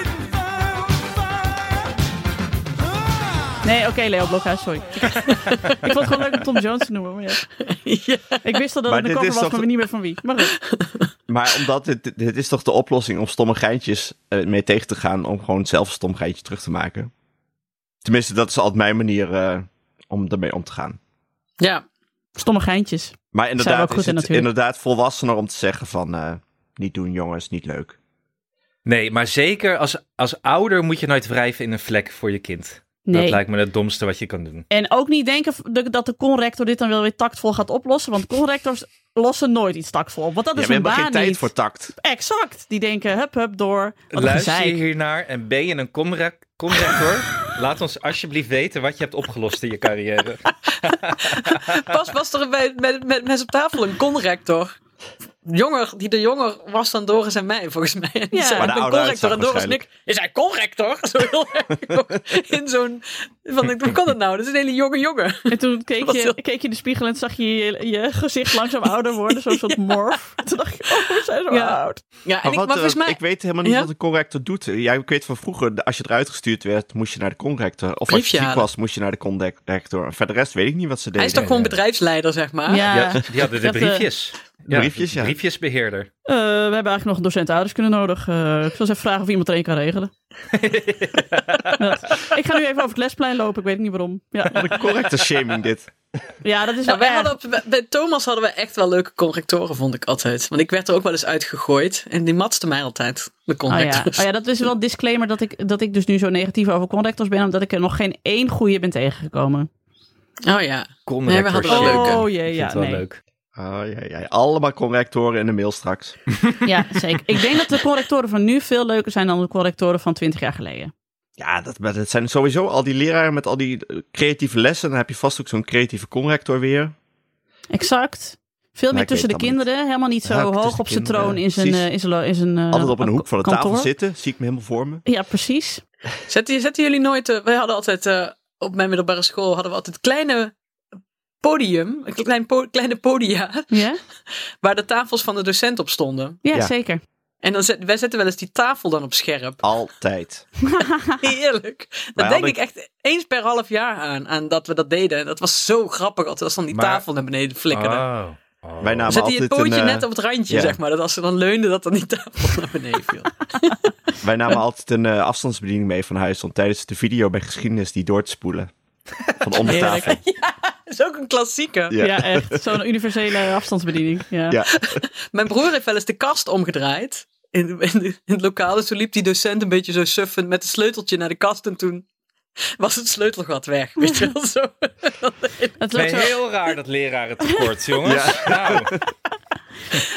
[SPEAKER 4] Nee, oké, Leo Blokhuis, sorry. ik vond het gewoon leuk om Tom Jones te noemen. Maar ja.
[SPEAKER 2] Ja.
[SPEAKER 4] Ik wist al dat
[SPEAKER 1] Maar
[SPEAKER 4] het een
[SPEAKER 1] dit
[SPEAKER 4] cover
[SPEAKER 1] is
[SPEAKER 4] was,
[SPEAKER 1] toch-
[SPEAKER 4] maar niet meer van wie. Maar goed.
[SPEAKER 1] maar omdat dit, dit is toch de oplossing om stomme geintjes eh, mee tegen te gaan om gewoon zelf een stom geintje terug te maken. Tenminste, dat is altijd mijn manier eh, om daarmee om te gaan.
[SPEAKER 2] Ja.
[SPEAKER 4] Stomme geintjes.
[SPEAKER 1] Maar
[SPEAKER 4] wel
[SPEAKER 1] inderdaad,
[SPEAKER 4] goed
[SPEAKER 1] is
[SPEAKER 4] in
[SPEAKER 1] het
[SPEAKER 4] natuurlijk.
[SPEAKER 1] inderdaad volwassener om te zeggen van... eh, niet doen jongens, niet leuk.
[SPEAKER 3] Nee, maar zeker als, als ouder moet je nooit wrijven in een vlek voor je kind.
[SPEAKER 4] Nee.
[SPEAKER 3] Dat lijkt me het domste wat je kan doen.
[SPEAKER 4] En ook niet denken v- de- dat de conrector dit dan wel weer tactvol gaat oplossen. Want conrectors lossen nooit iets tactvol op. Want dat
[SPEAKER 1] Ja,
[SPEAKER 4] is
[SPEAKER 1] we
[SPEAKER 4] een
[SPEAKER 1] hebben
[SPEAKER 4] baan
[SPEAKER 1] geen tijd
[SPEAKER 4] niet.
[SPEAKER 1] voor tact.
[SPEAKER 4] Exact. Die denken, hup, hup, door. Wat een
[SPEAKER 3] Luister je
[SPEAKER 4] gezeik.
[SPEAKER 3] hiernaar en ben je een comra- comrector? Laat ons alsjeblieft weten wat je hebt opgelost in je carrière.
[SPEAKER 4] Ah,
[SPEAKER 2] Pas was er bij, met, met mensen op tafel een conrector. Jonger, die de jonger was dan Doris en mij, volgens mij. En die
[SPEAKER 4] Ja.
[SPEAKER 2] zei,
[SPEAKER 4] Maar
[SPEAKER 1] de
[SPEAKER 2] ik ben
[SPEAKER 1] oude
[SPEAKER 2] conrector.
[SPEAKER 1] uitzag
[SPEAKER 2] En Doris en ik, is hij conrector? Zo heel erg ook in zo'n... Van, hoe kan dat nou? Dat is een hele jonge jongen.
[SPEAKER 4] En toen keek
[SPEAKER 2] Was
[SPEAKER 4] je,
[SPEAKER 2] heel-
[SPEAKER 4] keek je in de spiegel en zag je, je je gezicht langzaam ouder worden. Zo'n soort morf. Toen dacht je, oh, we zijn zo
[SPEAKER 2] Ja.
[SPEAKER 4] oud.
[SPEAKER 2] Ja, en
[SPEAKER 1] Maar
[SPEAKER 2] ik,
[SPEAKER 1] wat,
[SPEAKER 2] maar volgens
[SPEAKER 1] eh,
[SPEAKER 2] mij...
[SPEAKER 1] ik weet helemaal niet
[SPEAKER 2] Ja?
[SPEAKER 1] wat een corrector doet. Ja, ik weet van vroeger, de- als je eruit gestuurd werd, moest je naar de corrector. Of als
[SPEAKER 2] Briefje
[SPEAKER 1] je ziek
[SPEAKER 2] halen.
[SPEAKER 1] was, moest je naar de corrector. En Verder rest weet ik niet wat ze
[SPEAKER 2] hij
[SPEAKER 1] deden.
[SPEAKER 2] is toch gewoon bedrijfsleider, zeg maar?
[SPEAKER 3] Ja,
[SPEAKER 4] Ja.
[SPEAKER 3] die hadden de
[SPEAKER 4] Dat, eh,
[SPEAKER 3] briefjes.
[SPEAKER 1] de briefjes, ja.
[SPEAKER 3] Briefjesbeheerder.
[SPEAKER 4] Eh, we hebben eigenlijk nog een docent ouders kunnen nodig. Eh, ik zal eens even vragen of iemand er een kan regelen. Ik ga nu even over het lesplein lopen, ik weet niet waarom. Ja,
[SPEAKER 1] Wat een correcte shaming dit.
[SPEAKER 4] ja dat is
[SPEAKER 2] Nou,
[SPEAKER 4] wel
[SPEAKER 2] wij
[SPEAKER 4] erg.
[SPEAKER 2] hadden op- bij Thomas hadden we echt wel leuke correctoren, vond ik altijd. Want ik werd er ook wel eens uitgegooid. En die matste mij altijd, de
[SPEAKER 4] Oh ja.
[SPEAKER 2] correctors.
[SPEAKER 4] Oh ja, dat is wel een disclaimer dat ik, dat ik dus nu zo negatief over conrectors ben, omdat ik er nog geen één goede ben tegengekomen.
[SPEAKER 2] Oh ja.
[SPEAKER 3] Kom,
[SPEAKER 2] Nee, we hadden wel
[SPEAKER 3] Rector, shit.
[SPEAKER 2] leuke.
[SPEAKER 4] Oh
[SPEAKER 3] Ik
[SPEAKER 4] jee,
[SPEAKER 3] vind
[SPEAKER 4] ja,
[SPEAKER 3] het wel
[SPEAKER 4] nee.
[SPEAKER 3] leuk.
[SPEAKER 1] Oh, ja, ja. Allemaal correctoren in de mail straks.
[SPEAKER 4] Ja, zeker. Ik denk dat de correctoren van nu veel leuker zijn dan de correctoren van 20 jaar geleden.
[SPEAKER 1] Ja, dat, maar dat zijn sowieso al die leraren met al die eh, creatieve lessen. Dan heb je vast ook zo'n creatieve conrector weer.
[SPEAKER 4] Exact. Veel
[SPEAKER 1] Maar
[SPEAKER 4] meer
[SPEAKER 1] ik weet
[SPEAKER 4] tussen de
[SPEAKER 1] het dan
[SPEAKER 4] kinderen, helemaal niet zo
[SPEAKER 1] Ja, tussen
[SPEAKER 4] hoog
[SPEAKER 1] de
[SPEAKER 4] op zijn
[SPEAKER 1] kinderen,
[SPEAKER 4] troon in zijn,
[SPEAKER 1] precies.
[SPEAKER 4] eh, in zijn, lo- in zijn eh,
[SPEAKER 1] Altijd op een hoek van de tafel
[SPEAKER 4] kantoor.
[SPEAKER 1] zitten. Zie ik me helemaal voor me.
[SPEAKER 4] Ja, precies.
[SPEAKER 2] Zetten, zetten jullie nooit... eh, wij hadden altijd... eh, op mijn middelbare school hadden we altijd kleine podium. Een klein po- kleine podia.
[SPEAKER 4] Ja,
[SPEAKER 2] Waar de tafels van de docent op stonden.
[SPEAKER 4] ja,
[SPEAKER 1] Ja.
[SPEAKER 4] zeker.
[SPEAKER 2] En dan zet, wij zetten wel eens die tafel dan op scherp.
[SPEAKER 1] Altijd.
[SPEAKER 2] Heerlijk.
[SPEAKER 1] Wij
[SPEAKER 2] Dat denk
[SPEAKER 1] hadden-
[SPEAKER 2] ik echt eens per half jaar aan. Aan dat we dat deden. En dat was zo grappig. Altijd als dan die
[SPEAKER 3] Maar-
[SPEAKER 2] tafel naar beneden flikkerde.
[SPEAKER 3] Oh. Oh.
[SPEAKER 1] Wij namen
[SPEAKER 2] Zet hij het
[SPEAKER 1] Ah, altijd
[SPEAKER 2] pootje
[SPEAKER 1] een, eh,
[SPEAKER 2] net op het randje,
[SPEAKER 1] ja.
[SPEAKER 2] zeg maar. Dat als ze dan leunde, dat dan die tafel naar beneden viel.
[SPEAKER 1] Wij namen altijd een eh, afstandsbediening mee van huis om tijdens de video bij geschiedenis die door te spoelen. Van onder
[SPEAKER 4] Heerlijk.
[SPEAKER 1] tafel.
[SPEAKER 2] Dat is ook een klassieker.
[SPEAKER 1] Ja.
[SPEAKER 4] Ja, echt. Zo'n universele afstandsbediening. Ja.
[SPEAKER 1] Ja.
[SPEAKER 2] Mijn broer heeft wel eens de kast omgedraaid. In, in, in het lokaal. Dus toen liep die docent een beetje zo suffend met een sleuteltje naar de kast. En toen was het sleutelgat weg. Weet je wel zo.
[SPEAKER 4] Het
[SPEAKER 3] Ik
[SPEAKER 4] loopt
[SPEAKER 3] vind
[SPEAKER 4] zo...
[SPEAKER 3] het heel raar dat leraren tekort, jongens. Nou,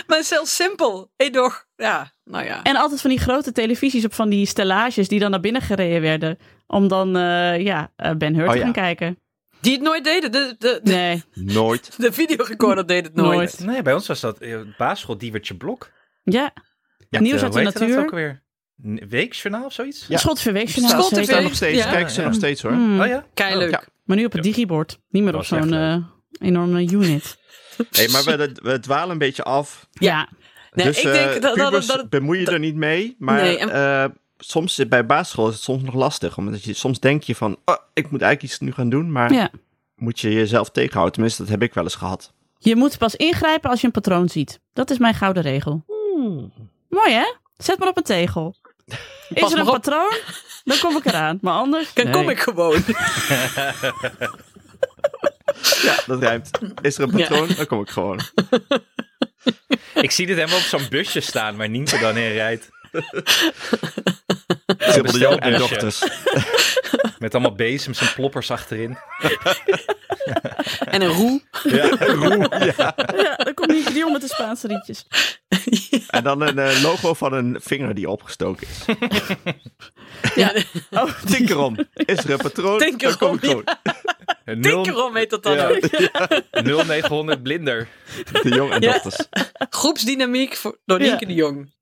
[SPEAKER 2] Maar het is heel simpel. Hey, doch. Ja, nou ja.
[SPEAKER 4] En altijd van die grote televisies op van die stellages die dan naar binnen gereden werden. Om dan eh, ja, eh, Ben Hur
[SPEAKER 1] Oh
[SPEAKER 4] te
[SPEAKER 1] ja.
[SPEAKER 4] gaan kijken.
[SPEAKER 2] Die het nooit deden. De, de, de,
[SPEAKER 4] Nee,
[SPEAKER 1] Nooit.
[SPEAKER 2] de videorecorder deed het nooit.
[SPEAKER 4] Nooit.
[SPEAKER 3] nee, bij ons was dat eh, basisschool Diewertje Blok.
[SPEAKER 4] ja.
[SPEAKER 3] Ja,
[SPEAKER 4] Nieuws uit de natuur.
[SPEAKER 3] dat ook weer? N- Weekjournaal of zoiets?
[SPEAKER 1] Ja.
[SPEAKER 4] Schots verweegsjournaal.
[SPEAKER 2] Schots
[SPEAKER 4] nou zeker.
[SPEAKER 1] Staan
[SPEAKER 2] TV.
[SPEAKER 1] nog steeds.
[SPEAKER 2] Ja.
[SPEAKER 1] Kijken ze
[SPEAKER 3] Ja.
[SPEAKER 1] nog steeds hoor.
[SPEAKER 4] Mm,
[SPEAKER 3] Oh ja?
[SPEAKER 2] Kei
[SPEAKER 1] Ja.
[SPEAKER 2] leuk.
[SPEAKER 4] Maar nu op het digibord. Niet meer
[SPEAKER 3] Dat
[SPEAKER 4] op
[SPEAKER 3] was echt
[SPEAKER 4] zo'n eh, enorme unit.
[SPEAKER 1] Hey, maar we, we dwalen een beetje af.
[SPEAKER 4] Ja,
[SPEAKER 2] Nee,
[SPEAKER 1] dus
[SPEAKER 2] ik denk
[SPEAKER 1] eh,
[SPEAKER 2] dat, dat,
[SPEAKER 1] pubers
[SPEAKER 2] dat, dat-
[SPEAKER 1] bemoei je er niet mee. Maar
[SPEAKER 2] Nee, en-
[SPEAKER 1] eh, soms eh, bij basisschool is het soms nog lastig. Omdat je soms denk je van, oh, ik moet eigenlijk iets nu gaan doen. Maar
[SPEAKER 4] ja.
[SPEAKER 1] moet je jezelf tegenhouden. Tenminste, dat heb ik wel eens gehad.
[SPEAKER 4] Je moet pas ingrijpen als je een patroon ziet. Dat is mijn gouden regel. Mooi hè? Zet maar op een tegel. Is
[SPEAKER 2] Pas
[SPEAKER 4] er een
[SPEAKER 2] maar op.
[SPEAKER 4] patroon? Dan kom ik eraan. Maar anders.
[SPEAKER 2] dan kom
[SPEAKER 4] nee.
[SPEAKER 2] ik gewoon.
[SPEAKER 1] Ja, dat rijmt. Is er een
[SPEAKER 2] Ja.
[SPEAKER 1] patroon? Dan kom ik gewoon.
[SPEAKER 4] Hm.
[SPEAKER 3] Ik zie dit helemaal op zo'n busje staan waar Nienke dan in rijdt.
[SPEAKER 1] Zilver de Jong en
[SPEAKER 3] bestelbusje.
[SPEAKER 1] dochters.
[SPEAKER 3] Met allemaal bezems en ploppers achterin.
[SPEAKER 2] En een roe.
[SPEAKER 1] Ja, roe. Ja.
[SPEAKER 4] Ja, dan kom ik die om met de Spaanse rietjes.
[SPEAKER 1] En dan een eh, logo van een vinger die opgestoken is.
[SPEAKER 2] Ja,
[SPEAKER 4] Oh,
[SPEAKER 1] Tinkerom. Is er een patroon?
[SPEAKER 2] Tinkerom,
[SPEAKER 1] Dan kom ik gewoon.
[SPEAKER 3] Een nul-
[SPEAKER 2] Tinkerom heet dat dan
[SPEAKER 3] Ja.
[SPEAKER 2] ook.
[SPEAKER 3] 0900 blinder.
[SPEAKER 1] De Jong en
[SPEAKER 2] Ja.
[SPEAKER 1] dochters.
[SPEAKER 2] Groepsdynamiek voor, door Nienke
[SPEAKER 4] Ja.
[SPEAKER 2] de Jong.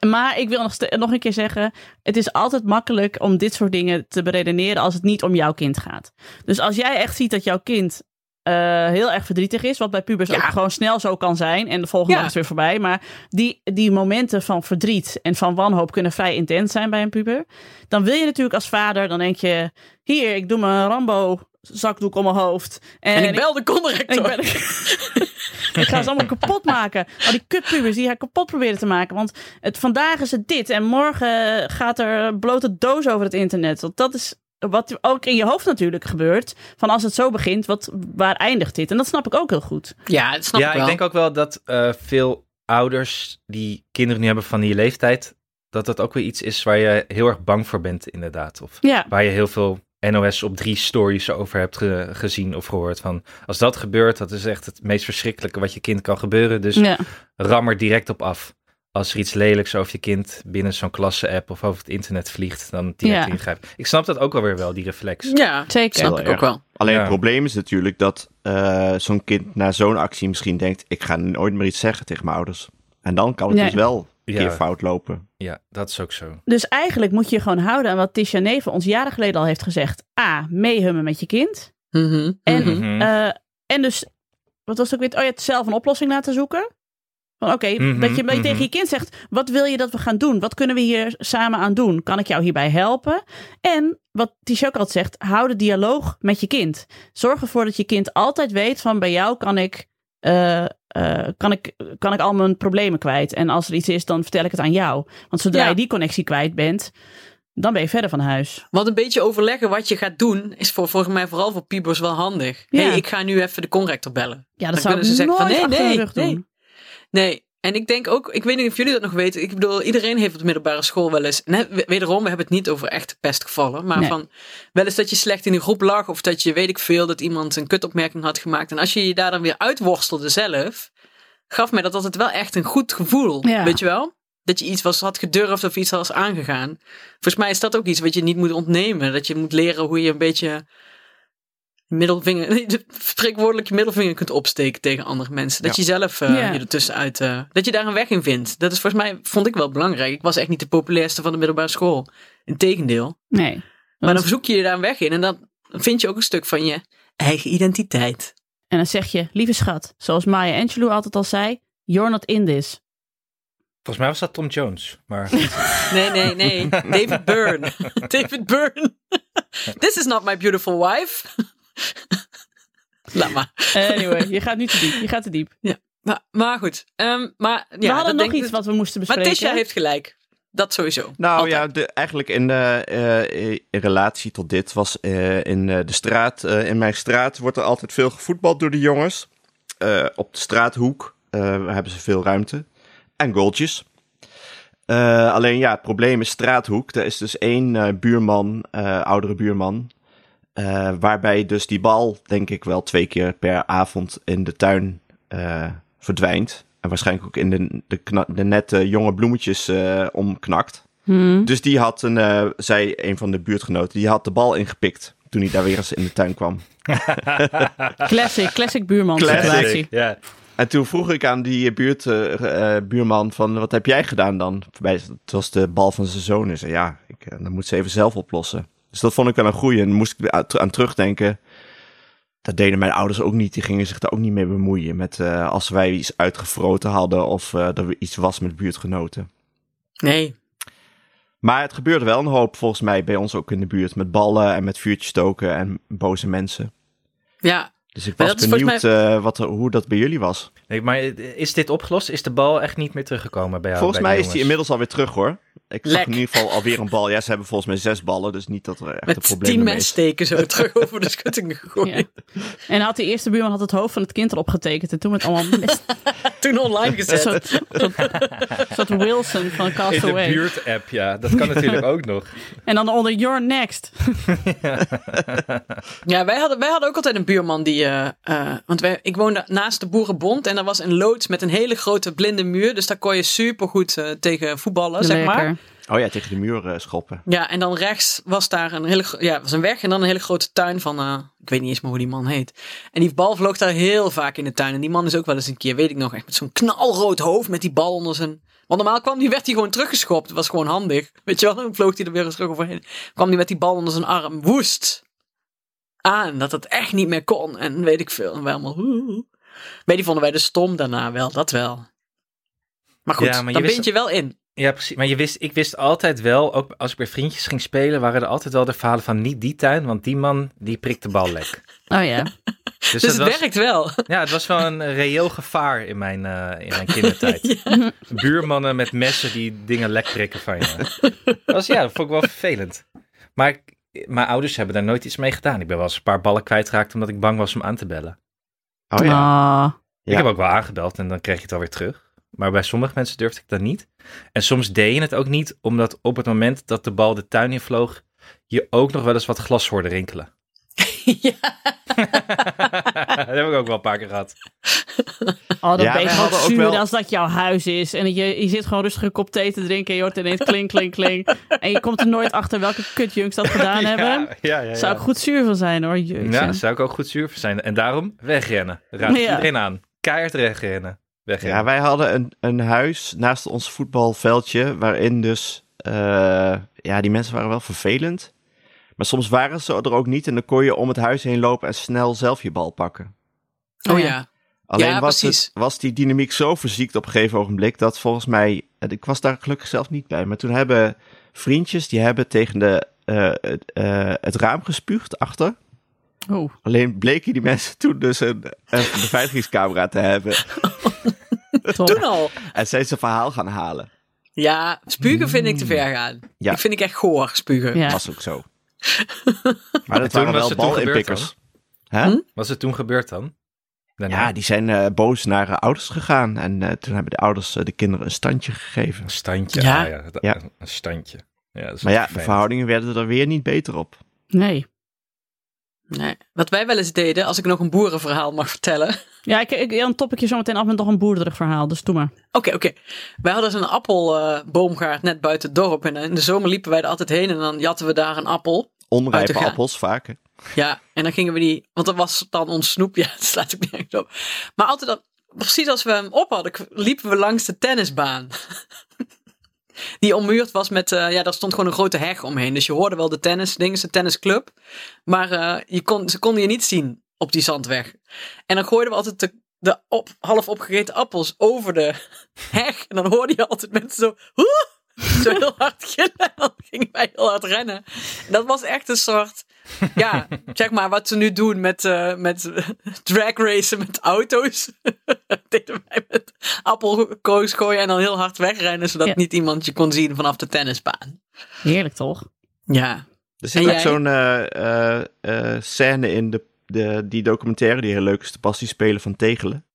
[SPEAKER 4] Maar ik wil nog, ste- nog een keer zeggen: het is altijd makkelijk om dit soort dingen te beredeneren als het niet om jouw kind gaat. Dus als jij echt ziet dat jouw kind eh, heel erg verdrietig is, wat bij pubers
[SPEAKER 2] Ja.
[SPEAKER 4] ook gewoon snel zo kan zijn en de volgende
[SPEAKER 2] Ja.
[SPEAKER 4] dag is weer voorbij, maar die, die momenten van verdriet en van wanhoop kunnen vrij intens zijn bij een puber, dan wil je natuurlijk als vader, dan denk je: hier, ik doe mijn Rambo zakdoek om mijn hoofd
[SPEAKER 2] En, ik
[SPEAKER 4] ik-
[SPEAKER 2] bel de
[SPEAKER 4] en Ik,
[SPEAKER 2] conrector.
[SPEAKER 4] ben... ik ga ze allemaal kapot maken. Al die kutpubers die haar kapot proberen te maken. Want het, vandaag is het dit en morgen gaat er blote doos over het internet. Want dat is wat ook in je hoofd natuurlijk gebeurt. Van als het zo begint, wat, waar eindigt dit? En dat snap ik ook heel goed.
[SPEAKER 2] Ja, dat snap
[SPEAKER 3] ja,
[SPEAKER 2] ik wel.
[SPEAKER 3] denk ook wel dat eh, veel ouders die kinderen nu hebben van die leeftijd, dat dat ook weer iets is waar je heel erg bang voor bent, inderdaad. Of
[SPEAKER 4] Ja,
[SPEAKER 3] waar je heel veel NOS op drie stories over hebt ge- gezien of gehoord. Van als dat gebeurt, dat is echt het meest verschrikkelijke wat je kind kan gebeuren. Dus
[SPEAKER 4] ja.
[SPEAKER 3] ram er direct op af. Als er iets lelijks over je kind binnen zo'n klasse-app of over het internet vliegt, dan direct
[SPEAKER 4] Ja.
[SPEAKER 3] ingrijpen. Ik snap dat ook wel weer wel, die reflex.
[SPEAKER 2] Ja,
[SPEAKER 4] zeker.
[SPEAKER 2] snap ik
[SPEAKER 1] erg.
[SPEAKER 2] ook wel.
[SPEAKER 1] Alleen
[SPEAKER 3] Ja.
[SPEAKER 1] het probleem is natuurlijk dat eh, zo'n kind na zo'n actie misschien denkt... ik ga nooit meer iets zeggen tegen mijn ouders. En dan kan het
[SPEAKER 4] Nee.
[SPEAKER 1] dus wel een
[SPEAKER 3] Ja.
[SPEAKER 1] keer fout lopen.
[SPEAKER 3] Ja, dat is ook zo.
[SPEAKER 4] Dus eigenlijk moet je gewoon houden aan wat Tisha Neven ons jaren geleden al heeft gezegd. A, meehummen met je kind.
[SPEAKER 2] Mhm,
[SPEAKER 4] En-
[SPEAKER 2] mhm.
[SPEAKER 3] Mhm.
[SPEAKER 4] Eh, en dus, wat was het ook weer? Oh ja, het zelf een oplossing laten zoeken. Van oké,
[SPEAKER 3] Mhm,
[SPEAKER 4] dat je, dat je
[SPEAKER 3] mhm.
[SPEAKER 4] tegen je kind zegt, wat wil je dat we gaan doen? Wat kunnen we hier samen aan doen? Kan ik jou hierbij helpen? En wat Tisha ook altijd zegt, hou de dialoog met je kind. Zorg ervoor dat je kind altijd weet van bij jou kan ik, eh, eh, kan ik, kan ik al mijn problemen kwijt. En als er iets is, dan vertel ik het aan jou. Want zodra
[SPEAKER 2] Ja.
[SPEAKER 4] je die connectie kwijt bent, Dan ben je verder van huis.
[SPEAKER 2] Want een beetje overleggen wat je gaat doen, is voor, volgens mij vooral voor piebers wel handig.
[SPEAKER 4] Ja.
[SPEAKER 2] Hey, ik ga nu even de conrector bellen.
[SPEAKER 4] Ja,
[SPEAKER 2] Dan
[SPEAKER 4] dat zou
[SPEAKER 2] kunnen
[SPEAKER 4] ik
[SPEAKER 2] ze
[SPEAKER 4] nooit
[SPEAKER 2] zeggen van, nee,
[SPEAKER 4] achter
[SPEAKER 2] nee,
[SPEAKER 4] hun rug
[SPEAKER 2] nee.
[SPEAKER 4] doen.
[SPEAKER 2] Nee, en ik denk ook, ik weet niet of jullie dat nog weten. Ik bedoel, iedereen heeft op de middelbare school wel eens. Net, we- wederom, we hebben het niet over echte pestgevallen. Maar
[SPEAKER 4] Nee.
[SPEAKER 2] van wel eens dat je slecht in de groep lag. Of dat je weet ik veel, dat iemand een kutopmerking had gemaakt. En als je je daar dan weer uitworstelde zelf, gaf mij dat altijd wel echt een goed gevoel.
[SPEAKER 4] Ja.
[SPEAKER 2] Weet je wel? Dat je iets was, had gedurfd of iets was aangegaan. Volgens mij is dat ook iets wat je niet moet ontnemen. Dat je moet leren hoe je een beetje middelvinger, spreekwoordelijk je middelvinger kunt opsteken tegen andere mensen. Dat
[SPEAKER 1] Ja.
[SPEAKER 2] je zelf eh,
[SPEAKER 4] Ja.
[SPEAKER 2] je ertussenuit, eh, dat je daar een weg in vindt. Dat is volgens mij, vond ik wel belangrijk. Ik was echt niet de populairste van de middelbare school. Integendeel.
[SPEAKER 4] Nee.
[SPEAKER 2] Maar
[SPEAKER 4] Want-
[SPEAKER 2] dan zoek je je daar een weg in en dan vind je ook een stuk van je eigen identiteit.
[SPEAKER 4] En dan zeg je, lieve schat, zoals Maya Angelou altijd al zei, you're not in this.
[SPEAKER 3] Volgens mij was dat Tom Jones. Maar
[SPEAKER 2] Nee, nee, nee. David Byrne. David Byrne. This is not my beautiful wife. Laat maar.
[SPEAKER 4] Anyway, je gaat nu te diep. Je gaat te diep.
[SPEAKER 2] Maar, maar goed. Ehm, maar, ja,
[SPEAKER 4] we
[SPEAKER 2] dat
[SPEAKER 4] hadden nog
[SPEAKER 2] denk ik
[SPEAKER 4] iets
[SPEAKER 2] dat-
[SPEAKER 4] wat we moesten
[SPEAKER 2] Maar
[SPEAKER 4] bespreken.
[SPEAKER 2] Tisha heeft gelijk. Dat sowieso.
[SPEAKER 1] Nou
[SPEAKER 2] Altijd.
[SPEAKER 1] ja, de, eigenlijk in, eh, eh, in relatie tot dit was eh, in eh, de straat, eh, in mijn straat wordt er altijd veel gevoetbald door de jongens. Eh, op de straathoek eh, hebben ze veel ruimte en goaltjes. Eh, alleen ja, het probleem is straathoek. Er is dus één eh, buurman, eh, oudere buurman, eh, waarbij dus die bal denk ik wel twee keer per avond in de tuin eh, verdwijnt. En waarschijnlijk ook in de, de, kna- de nette jonge bloemetjes eh, omknakt.
[SPEAKER 4] Hmm.
[SPEAKER 1] Dus die had een, eh zei een van de buurtgenoten, die had de bal ingepikt toen hij daar weer eens in de tuin kwam.
[SPEAKER 4] Classic, classic buurman
[SPEAKER 1] Classic.
[SPEAKER 4] situatie.
[SPEAKER 3] ja.
[SPEAKER 1] En toen vroeg ik aan die eh, buurt, eh, eh, buurman van, wat heb jij gedaan dan? Bij- Het was de bal van zijn zoon. En zei, ja, ik, eh, dat moet ze even zelf oplossen. Dus dat vond ik wel een goeie. En daar moest ik weer aan- aan terugdenken. Dat deden mijn ouders ook niet. Die gingen zich daar ook niet mee bemoeien. Met eh, als wij iets uitgefroten hadden of eh er iets was met buurtgenoten.
[SPEAKER 2] Nee.
[SPEAKER 1] Maar het gebeurde wel een hoop volgens mij bij ons ook in de buurt. Met ballen en met vuurtjes stoken en boze mensen.
[SPEAKER 2] Ja.
[SPEAKER 1] Dus ik
[SPEAKER 2] Maar
[SPEAKER 1] was
[SPEAKER 2] dat is volgens
[SPEAKER 1] benieuwd eh, wat, er- hoe dat bij jullie was.
[SPEAKER 3] Nee, maar eh, is dit opgelost? Is de bal echt niet meer teruggekomen bij jou?
[SPEAKER 1] volgens
[SPEAKER 3] bij
[SPEAKER 1] mij
[SPEAKER 3] de
[SPEAKER 1] is die
[SPEAKER 3] jongens?
[SPEAKER 1] inmiddels alweer terug hoor. Ik zag
[SPEAKER 2] Lek.
[SPEAKER 1] in ieder geval alweer een bal. Ja, ze hebben volgens mij zes ballen, dus niet dat er echt een
[SPEAKER 2] Met
[SPEAKER 1] probleem
[SPEAKER 2] tien
[SPEAKER 1] mee
[SPEAKER 2] mensen
[SPEAKER 1] is.
[SPEAKER 2] steken zo terug over de schutting gegooid.
[SPEAKER 4] En had die eerste buurman had het hoofd van het kind erop getekend. En toen werd allemaal best
[SPEAKER 2] Toen online
[SPEAKER 4] een
[SPEAKER 2] gezet.
[SPEAKER 4] soort, soort, soort Wilson van
[SPEAKER 3] In de
[SPEAKER 4] Castaway.
[SPEAKER 3] buurt-app, ja. Dat kan natuurlijk ook nog.
[SPEAKER 4] En dan onder you're next.
[SPEAKER 2] Ja, wij hadden, wij hadden ook altijd een buurman die. eh, eh, want wij, ik woonde naast de Boerenbond en er was een loods met een hele grote blinde muur. Dus daar kon je supergoed eh, tegen voetballen, zeg maar.
[SPEAKER 4] Lekker.
[SPEAKER 1] Oh ja, tegen de muur eh, schoppen.
[SPEAKER 2] Ja, en dan rechts was daar een hele gro- ja, was een weg en dan een hele grote tuin van, eh, ik weet niet eens meer hoe die man heet. En die bal vloog daar heel vaak in de tuin. En die man is ook wel eens een keer, weet ik nog, echt met zo'n knalrood hoofd met die bal onder zijn... Want normaal kwam die, werd hij gewoon teruggeschopt. Dat was gewoon handig. Weet je wel, dan vloog hij er weer eens terug overheen. Kwam hij met die bal onder zijn arm woest aan. Dat dat echt niet meer kon. En weet ik veel. En wij allemaal... "Oeh, oeh." Maar die vonden wij dus stom daarna wel. Dat wel. Maar goed,
[SPEAKER 3] Ja, maar je
[SPEAKER 2] dan
[SPEAKER 3] wist-
[SPEAKER 2] bind je wel in.
[SPEAKER 3] Ja, precies. Maar je wist, ik wist altijd wel, ook als ik bij vriendjes ging spelen, waren er altijd wel de verhalen van niet die tuin, want die man die prikt de bal lek.
[SPEAKER 4] Oh ja.
[SPEAKER 3] Dus,
[SPEAKER 2] Dus,
[SPEAKER 3] dat
[SPEAKER 2] het
[SPEAKER 3] was,
[SPEAKER 2] werkt wel.
[SPEAKER 3] Ja, het was wel een reëel gevaar in mijn, eh, in mijn kindertijd. Buurmannen met messen die dingen lek prikken van je. Dat was, ja, dat vond ik wel vervelend. Maar ik- mijn ouders hebben daar nooit iets mee gedaan. Ik ben wel eens een paar ballen kwijtgeraakt omdat ik bang was om aan te bellen.
[SPEAKER 1] Oh ja.
[SPEAKER 2] Nou.
[SPEAKER 4] Ah.
[SPEAKER 1] Ja.
[SPEAKER 3] Ik heb ook wel aangebeld en dan kreeg je het alweer terug. Maar bij sommige mensen durfde ik dat niet. En soms deed je het ook niet, omdat op het moment dat de bal de tuin invloog, je ook nog wel eens wat glas hoorde rinkelen.
[SPEAKER 2] Ja.
[SPEAKER 3] dat heb ik ook wel een paar keer gehad.
[SPEAKER 4] Oh, dat
[SPEAKER 1] Ja,
[SPEAKER 4] ben
[SPEAKER 1] wij
[SPEAKER 4] je gewoon
[SPEAKER 1] hadden ook
[SPEAKER 4] zuur
[SPEAKER 1] wel-
[SPEAKER 4] als dat jouw huis is. En je, je zit gewoon rustig een kop thee te drinken en je hoort ineens kling, kling, kling. En je komt er nooit achter welke kutjunks dat gedaan hebben.
[SPEAKER 3] Ja, ja, ja.
[SPEAKER 4] Zou ik goed zuur van zijn hoor, jeugd.
[SPEAKER 3] Ja, zou ik ook goed zuur voor zijn. En daarom wegrennen. Raad ik
[SPEAKER 4] Ja.
[SPEAKER 3] iedereen aan. Keihard wegrennen. Wegrennen.
[SPEAKER 1] Ja, wij hadden een, een huis naast ons voetbalveldje, waarin dus, eh, ja, die mensen waren wel vervelend. Maar soms waren ze er ook niet en dan kon je om het huis heen lopen en snel zelf je bal pakken.
[SPEAKER 2] Oh ja.
[SPEAKER 1] Alleen
[SPEAKER 2] Ja,
[SPEAKER 1] was,
[SPEAKER 2] precies.
[SPEAKER 1] het, was die dynamiek zo verziekt op een gegeven ogenblik dat volgens mij, en ik was daar gelukkig zelf niet bij, maar toen hebben vriendjes die hebben tegen de, eh, het, eh, het raam gespuugd achter.
[SPEAKER 4] Oh.
[SPEAKER 1] Alleen bleken die mensen toen dus een, een beveiligingscamera te hebben
[SPEAKER 4] Top.
[SPEAKER 2] Toen al.
[SPEAKER 1] en zijn ze verhaal gaan halen.
[SPEAKER 2] Ja, spugen vind ik te ver gaan.
[SPEAKER 1] Ja.
[SPEAKER 2] Ik vind ik echt goor, spugen.
[SPEAKER 4] Ja.
[SPEAKER 1] was ook zo. Maar dat
[SPEAKER 3] toen
[SPEAKER 1] waren wel
[SPEAKER 3] was het toen
[SPEAKER 1] balinpikkers.
[SPEAKER 3] gebeurd
[SPEAKER 1] Hè?
[SPEAKER 2] Hm?
[SPEAKER 3] Was het toen gebeurd dan? Daarna?
[SPEAKER 1] Ja, die zijn eh, boos naar eh, ouders gegaan. En eh, toen hebben de ouders eh, de kinderen een standje gegeven.
[SPEAKER 3] Een standje. Ah
[SPEAKER 2] Ja.
[SPEAKER 3] Ja, ja, dat-
[SPEAKER 1] Ja.
[SPEAKER 3] een standje. Ja, dat is
[SPEAKER 1] Maar ja, de
[SPEAKER 3] vervelend.
[SPEAKER 1] verhoudingen werden er weer niet beter op.
[SPEAKER 4] Nee.
[SPEAKER 2] Nee. Wat wij wel eens deden, als ik nog een boerenverhaal mag vertellen. Oké,
[SPEAKER 4] Ja, ik, ik, dan top ik je zo meteen af met nog een boerderig verhaal. Dus doe maar.
[SPEAKER 2] oké. Wij hadden zo'n appelboomgaard net buiten het dorp. En in de zomer liepen wij er altijd heen en dan jatten we daar een appel.
[SPEAKER 1] Onrijpe
[SPEAKER 2] Uiteraard.
[SPEAKER 1] appels vaak. hè.
[SPEAKER 2] Ja, en dan gingen we die, want dat was dan ons snoep. Ja, dat slaat ik nergens op. Maar altijd, dat, precies als we hem op hadden, k- liepen we langs de tennisbaan. Die ommuurd was met, eh, ja, daar stond gewoon een grote heg omheen. Dus je hoorde wel de tennisdingen, de tennisclub. Maar eh, je kon, ze konden je niet zien op die zandweg. En dan gooiden we altijd de, de op, half opgegeten appels over de heg. En dan hoorde je altijd mensen zo, "Hoe!" zo heel hard gillen. En dan gingen wij heel hard rennen. En dat was echt een soort, ja, zeg maar wat ze nu doen met, eh, met drag racen met auto's. Dat deden wij met appelkoos gooien en dan heel hard wegrennen. Zodat
[SPEAKER 4] Ja.
[SPEAKER 2] niet iemand je kon zien vanaf de tennisbaan.
[SPEAKER 4] Heerlijk toch?
[SPEAKER 2] Ja.
[SPEAKER 1] Er zit
[SPEAKER 2] En
[SPEAKER 1] ook
[SPEAKER 2] jij?
[SPEAKER 1] zo'n eh, eh, eh, scène in de, de, die documentaire die heel leuk is. De passie spelen van Tegelen.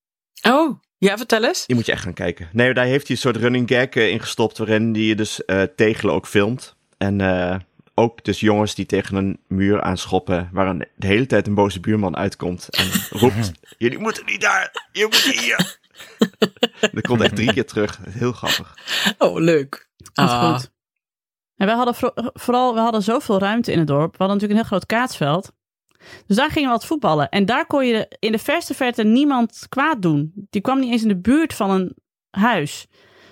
[SPEAKER 2] Oh, ja, vertel eens.
[SPEAKER 1] Die moet je echt gaan kijken. Nee, daar heeft hij een soort running gag eh, in gestopt. Waarin hij dus eh, Tegelen ook filmt. En eh, ook dus jongens die tegen een muur aanschoppen. Waar een- de hele tijd een boze buurman uitkomt. En roept, jullie moeten niet daar. Je moet hier. Dat komt echt drie keer terug. Heel grappig.
[SPEAKER 2] Oh, leuk.
[SPEAKER 4] Dat is
[SPEAKER 2] Ah.
[SPEAKER 4] goed. En wij hadden vro- vooral we hadden zoveel ruimte in het dorp. We hadden natuurlijk een heel groot kaatsveld. Dus daar gingen we wat voetballen. En daar kon je in de verste verte niemand kwaad doen. Die kwam niet eens in de buurt van een huis.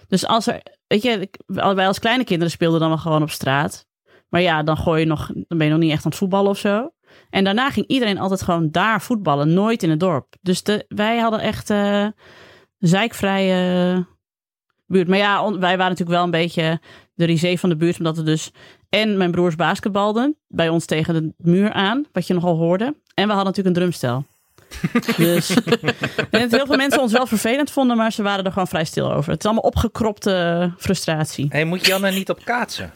[SPEAKER 4] Dus als er, weet je, ik- wij als kleine kinderen speelden dan wel gewoon op straat. Maar ja, dan gooi je nog, dan ben je nog niet echt aan het voetballen of zo. En daarna ging iedereen altijd gewoon daar voetballen, nooit in het dorp. Dus de, wij hadden echt eh zeikvrije buurt. Maar ja, on- wij waren natuurlijk wel een beetje de risée van de buurt. Omdat we dus en mijn broers basketbalden bij ons tegen de muur aan. Wat je nogal hoorde. En we hadden natuurlijk een drumstel. dus en dat heel veel mensen ons wel vervelend vonden. Maar ze waren er gewoon vrij stil over. Het is allemaal opgekropte frustratie.
[SPEAKER 3] Hé, moet Janne niet op kaatsen?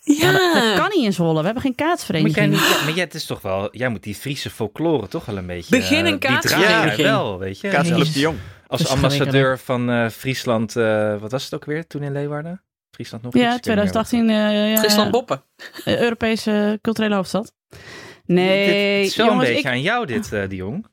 [SPEAKER 2] Ja,
[SPEAKER 4] Dat kan niet in Zwolle. We hebben geen
[SPEAKER 3] Ah. Moet jij
[SPEAKER 4] kaatsvereniging.
[SPEAKER 3] niet, ja, maar jij, het is toch wel, jij moet die Friese folklore toch wel een beetje...
[SPEAKER 2] Begin een
[SPEAKER 3] eh, die draai
[SPEAKER 2] kaatsvereniging.
[SPEAKER 3] jij wel, weet je.
[SPEAKER 1] Kaasclub de Jong.
[SPEAKER 3] Als
[SPEAKER 4] Verschrikkelijk.
[SPEAKER 3] ambassadeur van eh, Friesland, eh, wat was het ook weer toen in Leeuwarden? Friesland nog iets?
[SPEAKER 4] Ja,
[SPEAKER 3] Ik weet niet meer wat.
[SPEAKER 4] 2018 eh, ja,
[SPEAKER 2] Tristan Boppen.
[SPEAKER 4] eh, Europese culturele hoofdstad.
[SPEAKER 3] Dit-
[SPEAKER 4] Nee,
[SPEAKER 3] het is wel
[SPEAKER 4] jongens,
[SPEAKER 3] een
[SPEAKER 4] ik,
[SPEAKER 3] beetje aan jou dit, eh die jong.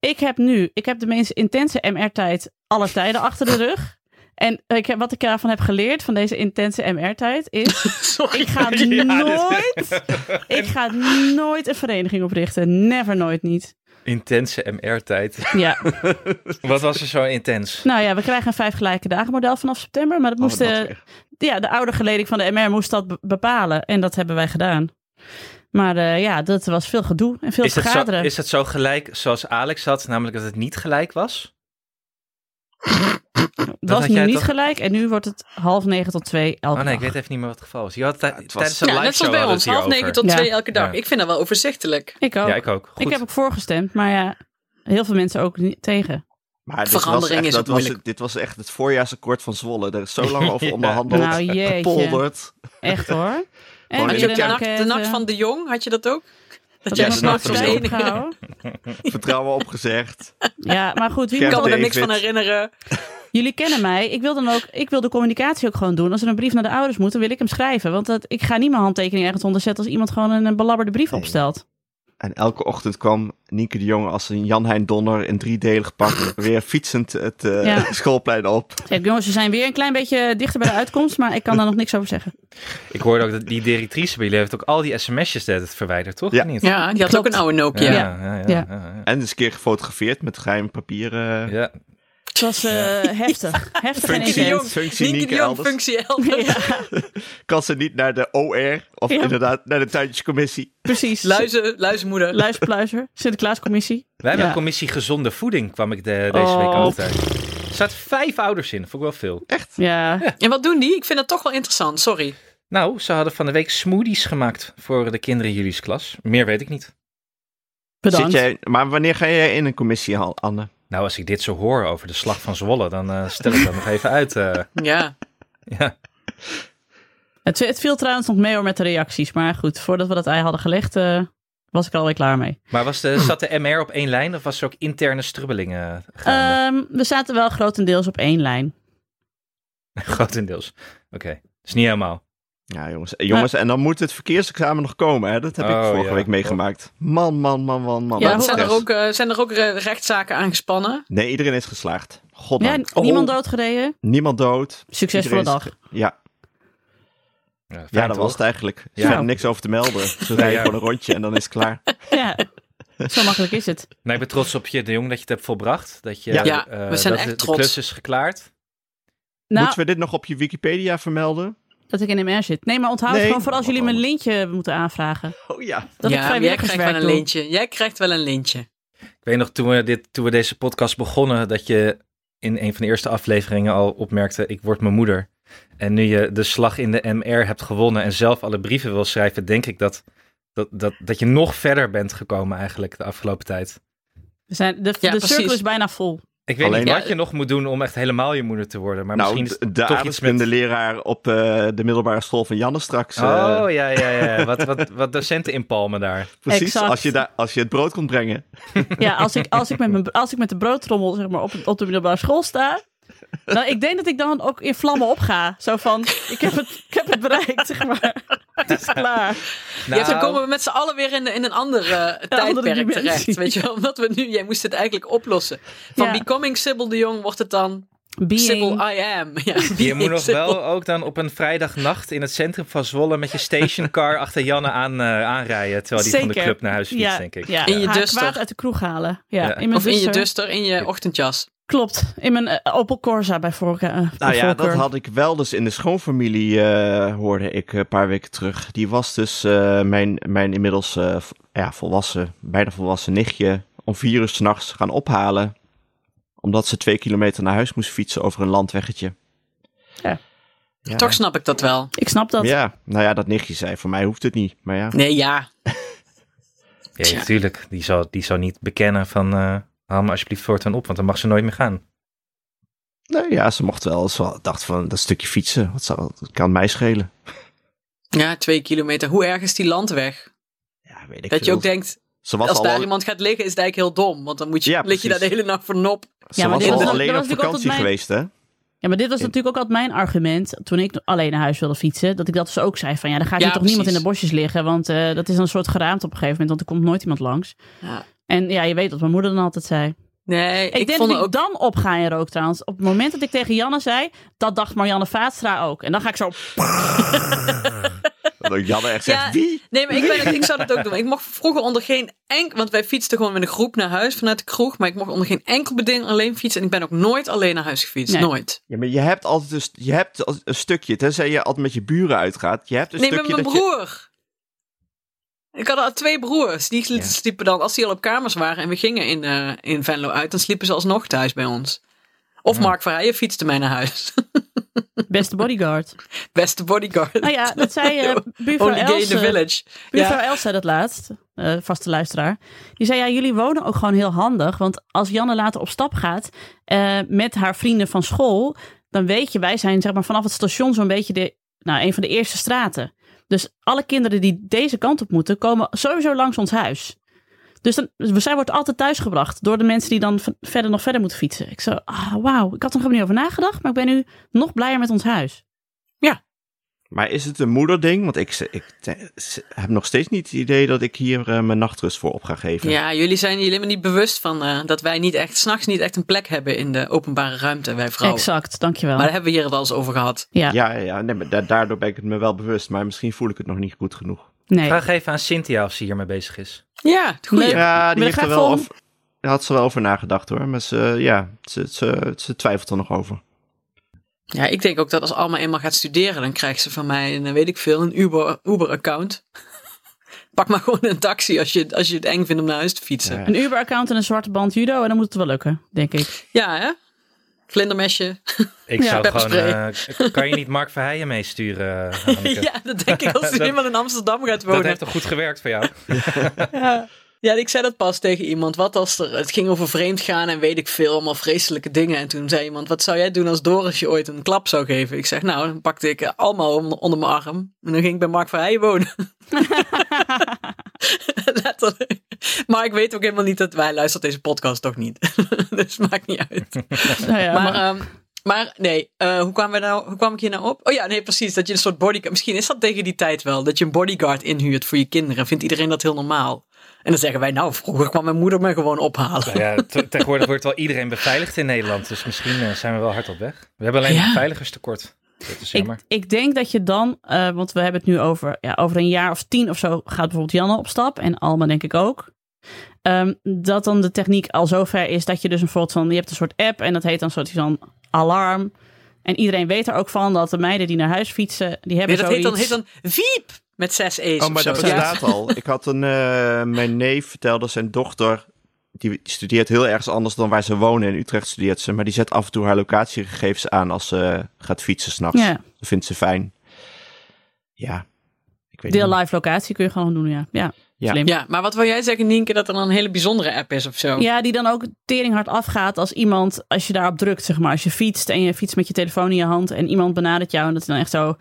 [SPEAKER 4] ik heb nu, ik heb de meest intense MR-tijd aller tijden achter de rug. En eh, ik heb, wat ik daarvan heb geleerd van deze intense MR-tijd is,
[SPEAKER 2] Sorry.
[SPEAKER 4] ik ga
[SPEAKER 3] Ja, dit-
[SPEAKER 4] nooit, ik ga nooit een vereniging oprichten. Never, nooit, niet.
[SPEAKER 3] Intense MR-tijd.
[SPEAKER 4] Ja,
[SPEAKER 3] Wat was er zo intens?
[SPEAKER 4] nou ja, we krijgen een vijf gelijke dagen model vanaf september, maar dat moest,
[SPEAKER 1] Oh, dat
[SPEAKER 4] eh,
[SPEAKER 1] weer.
[SPEAKER 4] ja, de oude geleding van de MR moest dat be- bepalen en dat hebben wij gedaan. Maar eh, ja, dat was veel gedoe en veel
[SPEAKER 3] Is dat, zo,
[SPEAKER 4] vergaderen.
[SPEAKER 3] is dat zo gelijk zoals Alex had, namelijk dat het niet gelijk was?
[SPEAKER 4] Het was
[SPEAKER 3] had
[SPEAKER 4] nu
[SPEAKER 3] jij
[SPEAKER 4] niet
[SPEAKER 3] toch-
[SPEAKER 4] gelijk en nu wordt het half negen tot twee elke
[SPEAKER 3] Oh nee, ik
[SPEAKER 4] dag.
[SPEAKER 3] weet even niet meer wat het geval was. Je had tij-
[SPEAKER 1] het was-
[SPEAKER 3] tijdens de
[SPEAKER 2] Ja,
[SPEAKER 3] live
[SPEAKER 2] net zoals bij ons. Half negen tot
[SPEAKER 4] Ja.
[SPEAKER 2] twee elke dag.
[SPEAKER 3] Ja.
[SPEAKER 2] Ik vind dat wel overzichtelijk.
[SPEAKER 4] Ik ook.
[SPEAKER 3] Ja, ik ook. Goed.
[SPEAKER 4] Ik heb ook voorgestemd, maar ja, heel veel mensen ook niet tegen.
[SPEAKER 1] Maar dit
[SPEAKER 2] Verandering
[SPEAKER 1] was echt,
[SPEAKER 2] is
[SPEAKER 1] dat
[SPEAKER 2] ook
[SPEAKER 1] was,
[SPEAKER 2] moeilijk.
[SPEAKER 1] het- Dit was echt het voorjaarsakkoord van Zwolle. Daar is zo lang over
[SPEAKER 3] Ja.
[SPEAKER 1] onderhandeld,
[SPEAKER 4] Nou, jeetje.
[SPEAKER 1] gepolderd.
[SPEAKER 4] Echt hoor. En
[SPEAKER 1] Gewoon
[SPEAKER 2] Had
[SPEAKER 1] niet
[SPEAKER 2] je
[SPEAKER 1] op
[SPEAKER 2] ook
[SPEAKER 1] de Ja.
[SPEAKER 2] de, nacht, de nacht van de Jong, had je dat ook? Dat
[SPEAKER 3] jij
[SPEAKER 2] jij
[SPEAKER 3] de
[SPEAKER 2] s'nachts
[SPEAKER 3] nacht van
[SPEAKER 2] als
[SPEAKER 3] de Jong.
[SPEAKER 2] enige...
[SPEAKER 1] Vertrouwen opgezegd.
[SPEAKER 4] Ja, maar goed, wie
[SPEAKER 2] Ik
[SPEAKER 1] Ja,
[SPEAKER 2] kan me
[SPEAKER 4] kan
[SPEAKER 2] er niks
[SPEAKER 1] David.
[SPEAKER 2] van herinneren.
[SPEAKER 4] jullie kennen mij. Ik wil dan ook, ik wil de communicatie ook gewoon doen. Als er een brief naar de ouders moet, dan wil ik hem schrijven. Want dat, ik ga niet mijn handtekening ergens onderzetten als iemand gewoon een, een belabberde brief
[SPEAKER 1] Nee.
[SPEAKER 4] opstelt.
[SPEAKER 1] En elke ochtend kwam Nieke de Jonge als een Jan-Hein Donner in driedelig pak weer fietsend het eh,
[SPEAKER 4] Ja.
[SPEAKER 1] schoolplein op.
[SPEAKER 4] Zeg ik, jongens, we zijn weer een klein beetje dichter bij de uitkomst, maar ik kan daar nog niks over zeggen.
[SPEAKER 3] Ik hoorde ook dat die directrice bij jullie heeft ook al die sms'jes dat het verwijderd, toch?
[SPEAKER 1] Ja.
[SPEAKER 3] Of niet?
[SPEAKER 2] Ja, die had ook
[SPEAKER 4] Klopt.
[SPEAKER 2] een oude Nokia.
[SPEAKER 3] ja, ja, ja,
[SPEAKER 4] Ja.
[SPEAKER 3] ja,
[SPEAKER 1] En eens een keer gefotografeerd met geheim papieren.
[SPEAKER 3] ja. Ja.
[SPEAKER 4] Het was eh, heftig. Heftig en
[SPEAKER 2] Functie
[SPEAKER 1] Functie,
[SPEAKER 4] intens.
[SPEAKER 2] Jong.
[SPEAKER 1] functie
[SPEAKER 2] Nienke
[SPEAKER 1] Nieke
[SPEAKER 2] de Jong,
[SPEAKER 1] elders.
[SPEAKER 2] functie elders.
[SPEAKER 1] Kan ze niet naar de OR of
[SPEAKER 4] Ja.
[SPEAKER 1] inderdaad naar de tuintjescommissie.
[SPEAKER 4] Precies.
[SPEAKER 2] Luizen, luizenmoeder.
[SPEAKER 4] Luisterpluizer. Sinterklaascommissie.
[SPEAKER 3] Wij hebben
[SPEAKER 4] Ja.
[SPEAKER 3] een commissie gezonde voeding, kwam ik de, deze week
[SPEAKER 4] Oh.
[SPEAKER 3] altijd. Er zaten vijf ouders in, vond ik wel veel.
[SPEAKER 4] Ja.
[SPEAKER 2] En wat doen die? Ik vind dat toch wel interessant, sorry.
[SPEAKER 3] Nou, ze hadden van de week smoothies gemaakt voor de kinderen in jullie klas. Meer weet ik niet.
[SPEAKER 4] Bedankt.
[SPEAKER 1] Zit jij, maar wanneer ga jij in een commissie, Han- Anne?
[SPEAKER 3] Nou, als ik dit zo hoor over de slag van Zwolle, dan eh, stel ik dat nog even uit. eh.
[SPEAKER 2] Ja.
[SPEAKER 3] ja.
[SPEAKER 4] Het, het viel trouwens nog mee hoor met de reacties. Maar goed, voordat we dat ei hadden gelegd, eh, was ik er alweer klaar mee.
[SPEAKER 3] Maar was de, zat de MR op één lijn of was er ook interne strubbelingen eh, gaande?
[SPEAKER 4] Ehm, we zaten wel grotendeels op één lijn.
[SPEAKER 3] Grotendeels. Oké, dus niet helemaal.
[SPEAKER 1] Ja, jongens. Eh, jongens en dan moet het verkeersexamen nog komen, hè? Dat heb
[SPEAKER 3] Oh,
[SPEAKER 1] ik vorige
[SPEAKER 3] ja.
[SPEAKER 1] week meegemaakt. Man, man, man, man, man.
[SPEAKER 4] Ja,
[SPEAKER 1] Wat
[SPEAKER 2] Want
[SPEAKER 1] een
[SPEAKER 2] zijn, er
[SPEAKER 1] stress.
[SPEAKER 2] ook, eh, zijn er ook re- rechtszaken aangespannen?
[SPEAKER 1] Nee, iedereen is geslaagd.
[SPEAKER 4] Ja,
[SPEAKER 1] Goddank.
[SPEAKER 4] niemand doodgereden.
[SPEAKER 1] Niemand dood.
[SPEAKER 4] Succesvolle
[SPEAKER 1] Oh. Iedereen is-
[SPEAKER 4] dag.
[SPEAKER 1] Ja,
[SPEAKER 3] Ja, fijn
[SPEAKER 1] ja dat
[SPEAKER 3] toch?
[SPEAKER 1] was het eigenlijk. Er
[SPEAKER 3] Ja.
[SPEAKER 1] ja. niks over te melden. Ze rijden
[SPEAKER 3] ja.
[SPEAKER 1] gewoon een rondje en dan is het klaar.
[SPEAKER 4] Ja, zo makkelijk is het.
[SPEAKER 3] Nou, ik ben trots op je, de jong, dat je het hebt volbracht. Dat je,
[SPEAKER 1] Ja.
[SPEAKER 2] Ja,
[SPEAKER 3] eh,
[SPEAKER 2] we zijn
[SPEAKER 3] dat
[SPEAKER 2] echt
[SPEAKER 3] de,
[SPEAKER 2] trots.
[SPEAKER 3] De klus is geklaard.
[SPEAKER 4] Nou,
[SPEAKER 1] Moeten we dit nog op je Wikipedia vermelden?
[SPEAKER 4] dat ik in MR zit. Nee, maar onthoud
[SPEAKER 1] Nee.
[SPEAKER 4] gewoon voor als jullie mijn
[SPEAKER 1] Oh.
[SPEAKER 4] lintje moeten aanvragen.
[SPEAKER 1] Oh ja.
[SPEAKER 4] Dat ik
[SPEAKER 2] ja, maar jij krijgt
[SPEAKER 4] vrijwilligerswerk
[SPEAKER 2] wel een
[SPEAKER 4] doe.
[SPEAKER 2] lintje. Jij krijgt wel een lintje.
[SPEAKER 3] Ik weet nog, toen we, dit, toen we deze podcast begonnen, dat je in een van de eerste afleveringen al opmerkte, ik word mijn moeder. En nu je de slag in de MR hebt gewonnen en zelf alle brieven wil schrijven, denk ik dat, dat, dat, dat je nog verder bent gekomen eigenlijk de afgelopen tijd.
[SPEAKER 4] We zijn, de
[SPEAKER 2] Ja,
[SPEAKER 4] de
[SPEAKER 2] precies.
[SPEAKER 4] cirkel is bijna vol.
[SPEAKER 3] Ik weet
[SPEAKER 1] Alleen-
[SPEAKER 3] niet wat
[SPEAKER 2] Ja.
[SPEAKER 3] je nog moet doen om echt helemaal je moeder te worden. Maar
[SPEAKER 1] nou,
[SPEAKER 3] misschien is
[SPEAKER 1] de-
[SPEAKER 3] het
[SPEAKER 1] de
[SPEAKER 3] toch iets met...
[SPEAKER 1] aardrijkskunde leraar op eh, de middelbare school van Janne straks. eh,
[SPEAKER 3] Oh, ja, ja, ja. Wat, wat, wat docenten inpalmen daar.
[SPEAKER 1] precies,
[SPEAKER 4] exact.
[SPEAKER 1] Als, je daar, als je het brood komt brengen.
[SPEAKER 4] Ja, als ik, als ik, met, mijn, als ik met de broodtrommel zeg maar, op, op de middelbare school sta. Dan, ik denk dat ik dan ook in vlammen opga. Zo van, ik heb het, ik heb het bereikt, zeg maar. Het is klaar.
[SPEAKER 3] Nou,
[SPEAKER 2] ja, dan komen we met z'n allen weer in, in een ander eh, tijdperk
[SPEAKER 4] dimensie.
[SPEAKER 2] terecht. Weet je wel, omdat we nu, jij moest het eigenlijk oplossen. Van
[SPEAKER 4] Ja.
[SPEAKER 2] Becoming Sybil de Jong wordt het dan Sybil
[SPEAKER 4] Being.
[SPEAKER 2] I am. Ja,
[SPEAKER 3] Je moet nog
[SPEAKER 2] Sybil.
[SPEAKER 3] wel ook dan op een vrijdagnacht in het centrum van Zwolle met je stationcar achter Janne aan, eh, aanrijden. Terwijl die van de
[SPEAKER 4] Zeker.
[SPEAKER 3] club naar huis fietst,
[SPEAKER 4] Ja,
[SPEAKER 3] denk ik.
[SPEAKER 4] ja,
[SPEAKER 2] In je
[SPEAKER 4] haar
[SPEAKER 2] duster.
[SPEAKER 4] kwaad uit de kroeg halen. Ja,
[SPEAKER 3] Ja.
[SPEAKER 4] In mijn
[SPEAKER 2] Of in je dus?
[SPEAKER 4] duster.
[SPEAKER 2] duster, in je ochtendjas.
[SPEAKER 4] Klopt, in mijn eh, Opel Corsa bij voorke- eh, bij voorkeur.
[SPEAKER 1] Nou ja, dat had ik wel dus in de schoonfamilie, eh, hoorde ik een paar weken terug. Die was dus eh, mijn, mijn inmiddels eh, v- ja, volwassen, bijna volwassen nichtje om vier uur s'nachts gaan ophalen. Omdat ze twee kilometer naar huis moest fietsen over een landweggetje. Ja.
[SPEAKER 2] Toch snap ik dat wel.
[SPEAKER 4] Ik snap dat.
[SPEAKER 1] Ja, nou ja, dat nichtje zei, voor mij hoeft het niet. Maar ja,
[SPEAKER 2] Nee, ja.
[SPEAKER 3] Ja, natuurlijk. Die zou, die zou niet bekennen van eh haal me alsjeblieft voortaan op, want dan mag ze nooit meer gaan.
[SPEAKER 1] nou ja ze mocht wel. Ze dacht van, dat stukje fietsen, wat zou, dat kan mij schelen.
[SPEAKER 2] Ja, twee kilometer. Hoe erg is die landweg?
[SPEAKER 1] Ja, weet ik
[SPEAKER 2] Dat je
[SPEAKER 1] veel.
[SPEAKER 2] ook denkt,
[SPEAKER 1] ze was
[SPEAKER 2] als
[SPEAKER 1] al,
[SPEAKER 2] daar
[SPEAKER 1] al-
[SPEAKER 2] iemand gaat liggen, is het eigenlijk heel dom. Want dan moet je,
[SPEAKER 1] Ja,
[SPEAKER 2] lig je daar de
[SPEAKER 1] precies.
[SPEAKER 2] hele nacht voor nop.
[SPEAKER 1] ze
[SPEAKER 4] Ja, maar
[SPEAKER 1] was
[SPEAKER 4] dit
[SPEAKER 1] al
[SPEAKER 4] was-
[SPEAKER 1] alleen
[SPEAKER 4] dat
[SPEAKER 1] op
[SPEAKER 4] was natuurlijk
[SPEAKER 1] vakantie
[SPEAKER 4] altijd mijn-
[SPEAKER 1] geweest, hè?
[SPEAKER 4] Ja, maar dit was natuurlijk ook altijd mijn argument toen ik alleen naar huis wilde fietsen. Dat ik dat dus ook zei van ja, dan gaat
[SPEAKER 2] Ja,
[SPEAKER 4] hier toch niemand in de
[SPEAKER 2] precies.
[SPEAKER 4] bosjes liggen. Want eh, dat is dan een soort geraamte op een gegeven moment, want er komt nooit iemand langs.
[SPEAKER 2] Ja.
[SPEAKER 4] En ja, je weet wat mijn moeder dan altijd zei.
[SPEAKER 2] Nee,
[SPEAKER 4] Ik,
[SPEAKER 2] ik,
[SPEAKER 4] denk
[SPEAKER 2] vond
[SPEAKER 4] dat
[SPEAKER 2] het
[SPEAKER 4] ik
[SPEAKER 2] ook...
[SPEAKER 4] dan op ga in rook trouwens. Op het moment dat ik tegen Janne zei, dat dacht Marianne Vaatstra ook. En dan ga ik zo...
[SPEAKER 1] Dat Janne echt
[SPEAKER 2] Ja.
[SPEAKER 1] zegt, wie?
[SPEAKER 2] Nee, maar ik, ben het- ik zou dat ook doen. Ik mocht vroeger onder geen enkel... Want wij fietsten gewoon met een groep naar huis vanuit de kroeg. Maar ik mocht onder geen enkel beding alleen fietsen. En ik ben ook nooit alleen naar huis gefietst.
[SPEAKER 4] Nee.
[SPEAKER 2] Nooit.
[SPEAKER 1] Ja, maar je hebt altijd een, st- je hebt al- een stukje, tenzij je altijd met je buren uitgaat. Je hebt een
[SPEAKER 2] nee, met
[SPEAKER 1] stukje
[SPEAKER 2] mijn
[SPEAKER 1] dat je-
[SPEAKER 2] broer. Ik had al twee broers. Die sliepen dan, als die al op kamers waren en we gingen in, eh, in Venlo uit, dan sliepen ze alsnog thuis bij ons. Of Mark Verheijen fietste mij naar huis.
[SPEAKER 4] Beste bodyguard.
[SPEAKER 2] Beste bodyguard.
[SPEAKER 4] Nou ja, dat zei eh buurvrouw
[SPEAKER 2] Only gay in the
[SPEAKER 4] Else.
[SPEAKER 2] village.
[SPEAKER 4] Buurvrouw
[SPEAKER 2] Ja.
[SPEAKER 4] Els zei dat laatst, eh, vaste luisteraar. Die zei, ja, jullie wonen ook gewoon heel handig. Want als Janne later op stap gaat eh, met haar vrienden van school... dan weet je, wij zijn zeg maar, vanaf het station zo'n beetje de, nou, een van de eerste straten. Dus alle kinderen die deze kant op moeten... komen sowieso langs ons huis. Dus dan, dus zij wordt altijd thuisgebracht door de mensen die dan v- verder nog verder moeten fietsen. Ik zo, ah, wauw, ik had er nog niet over nagedacht... maar ik ben nu nog blijer met ons huis.
[SPEAKER 1] Maar is het een moederding? Want ik, ik te- s- heb nog steeds niet het idee dat ik hier eh, mijn nachtrust voor op ga geven.
[SPEAKER 2] Ja, jullie zijn jullie helemaal niet bewust van eh, dat wij niet echt, s'nachts niet echt een plek hebben in de openbare ruimte, wij vrouwen.
[SPEAKER 4] Exact, dankjewel.
[SPEAKER 2] Maar daar hebben we hier het al eens over gehad.
[SPEAKER 4] ja,
[SPEAKER 1] ja, ja, ja, nee, maar da- daardoor ben ik het me wel bewust. Maar misschien voel ik het nog niet goed genoeg.
[SPEAKER 4] nee.
[SPEAKER 3] Vraag even aan Cynthia of ze hiermee bezig is.
[SPEAKER 2] Ja, het goede.
[SPEAKER 4] Nee.
[SPEAKER 1] Ja, die
[SPEAKER 4] wil
[SPEAKER 1] heeft er
[SPEAKER 4] graag
[SPEAKER 1] wel
[SPEAKER 4] van-
[SPEAKER 1] over, daar had ze wel over nagedacht hoor. Maar ze, ja, ze, ze, ze twijfelt er nog over.
[SPEAKER 2] Ja, ik denk ook dat als Alma eenmaal gaat studeren, dan krijgt ze van mij, een, eh, weet ik veel, een Uber- Uber-account. Pak maar gewoon een taxi als je, als je het eng vindt om naar huis te fietsen.
[SPEAKER 1] Ja.
[SPEAKER 2] Ja,
[SPEAKER 4] Een Uber-account en een zwarte band judo en dan moet het wel lukken, denk ik.
[SPEAKER 2] hè? Vlindermesje.
[SPEAKER 3] Ik
[SPEAKER 4] Ja,
[SPEAKER 3] zou gewoon...
[SPEAKER 2] pepperspray.
[SPEAKER 3] eh, kan je niet Mark Verheijen meesturen, eh, Hanneke?
[SPEAKER 2] ja, dat denk ik als je
[SPEAKER 3] Dat-
[SPEAKER 2] helemaal in Amsterdam gaat
[SPEAKER 3] Dat
[SPEAKER 2] wonen.
[SPEAKER 3] heeft toch goed gewerkt voor jou?
[SPEAKER 2] Ja, ik zei dat pas tegen iemand. Wat als er, het ging over vreemd gaan en weet ik veel, allemaal vreselijke dingen. En toen zei iemand, wat zou jij doen als Doris je ooit een klap zou geven? Ik zeg, nou, dan pakte ik eh, allemaal onder, onder mijn arm. En dan ging ik bij Mark van Heijen wonen. Letterlijk. Maar ik weet ook helemaal niet dat wij luistert deze podcast toch niet. dus maakt niet uit.
[SPEAKER 4] Nou ja,
[SPEAKER 2] Maar,
[SPEAKER 4] maar-
[SPEAKER 2] ehm, maar nee, eh, hoe, kwam nou, hoe kwam ik hier nou op? Oh ja, nee, precies. Dat je een soort bodyguard. Misschien is dat tegen die tijd wel. Dat je een bodyguard inhuurt voor je kinderen. Vindt iedereen dat heel normaal? En dan zeggen wij, nou, vroeger kwam mijn moeder me gewoon ophalen.
[SPEAKER 3] Nou ja, te- tegenwoordig wordt wel iedereen beveiligd in Nederland. Dus misschien eh, zijn we wel hard op weg. We hebben alleen
[SPEAKER 2] Ja.
[SPEAKER 3] een beveiligerstekort. Dat is jammer.
[SPEAKER 4] ik, ik denk dat je dan, eh, want we hebben het nu over, ja, over een jaar of tien of zo gaat bijvoorbeeld Janne op stap en Alma denk ik ook. Ehm, dat dan de techniek al zover is dat je dus een soort van, je hebt een soort app en dat heet dan soort van alarm. En iedereen weet er ook van dat de meiden die naar huis fietsen, die hebben
[SPEAKER 2] Nee, dat heet
[SPEAKER 4] zoiets.
[SPEAKER 2] dan, heet dan Wiep met zes E's.
[SPEAKER 1] Oh,
[SPEAKER 2] of
[SPEAKER 1] maar
[SPEAKER 2] zo.
[SPEAKER 1] dat
[SPEAKER 2] Ja.
[SPEAKER 1] bestaat al. Ik had een, eh, mijn neef vertelde zijn dochter, die studeert heel ergens anders dan waar ze wonen. In Utrecht studeert ze, maar die zet af en toe haar locatiegegevens aan als ze gaat fietsen s'nachts.
[SPEAKER 4] Ja.
[SPEAKER 1] Dat vindt ze fijn. Ja, ik weet
[SPEAKER 4] Deel
[SPEAKER 1] niet.
[SPEAKER 4] live locatie kun je gewoon doen, ja. Ja,
[SPEAKER 1] Ja.
[SPEAKER 4] slim.
[SPEAKER 2] Ja, maar wat wil jij zeggen, Nienke, dat er dan een hele bijzondere app is of zo?
[SPEAKER 4] Ja, die dan ook teringhard afgaat als iemand, als je daarop drukt, zeg maar. Als je fietst en je fietst met je telefoon in je hand en iemand benadert jou en dat is dan echt zo...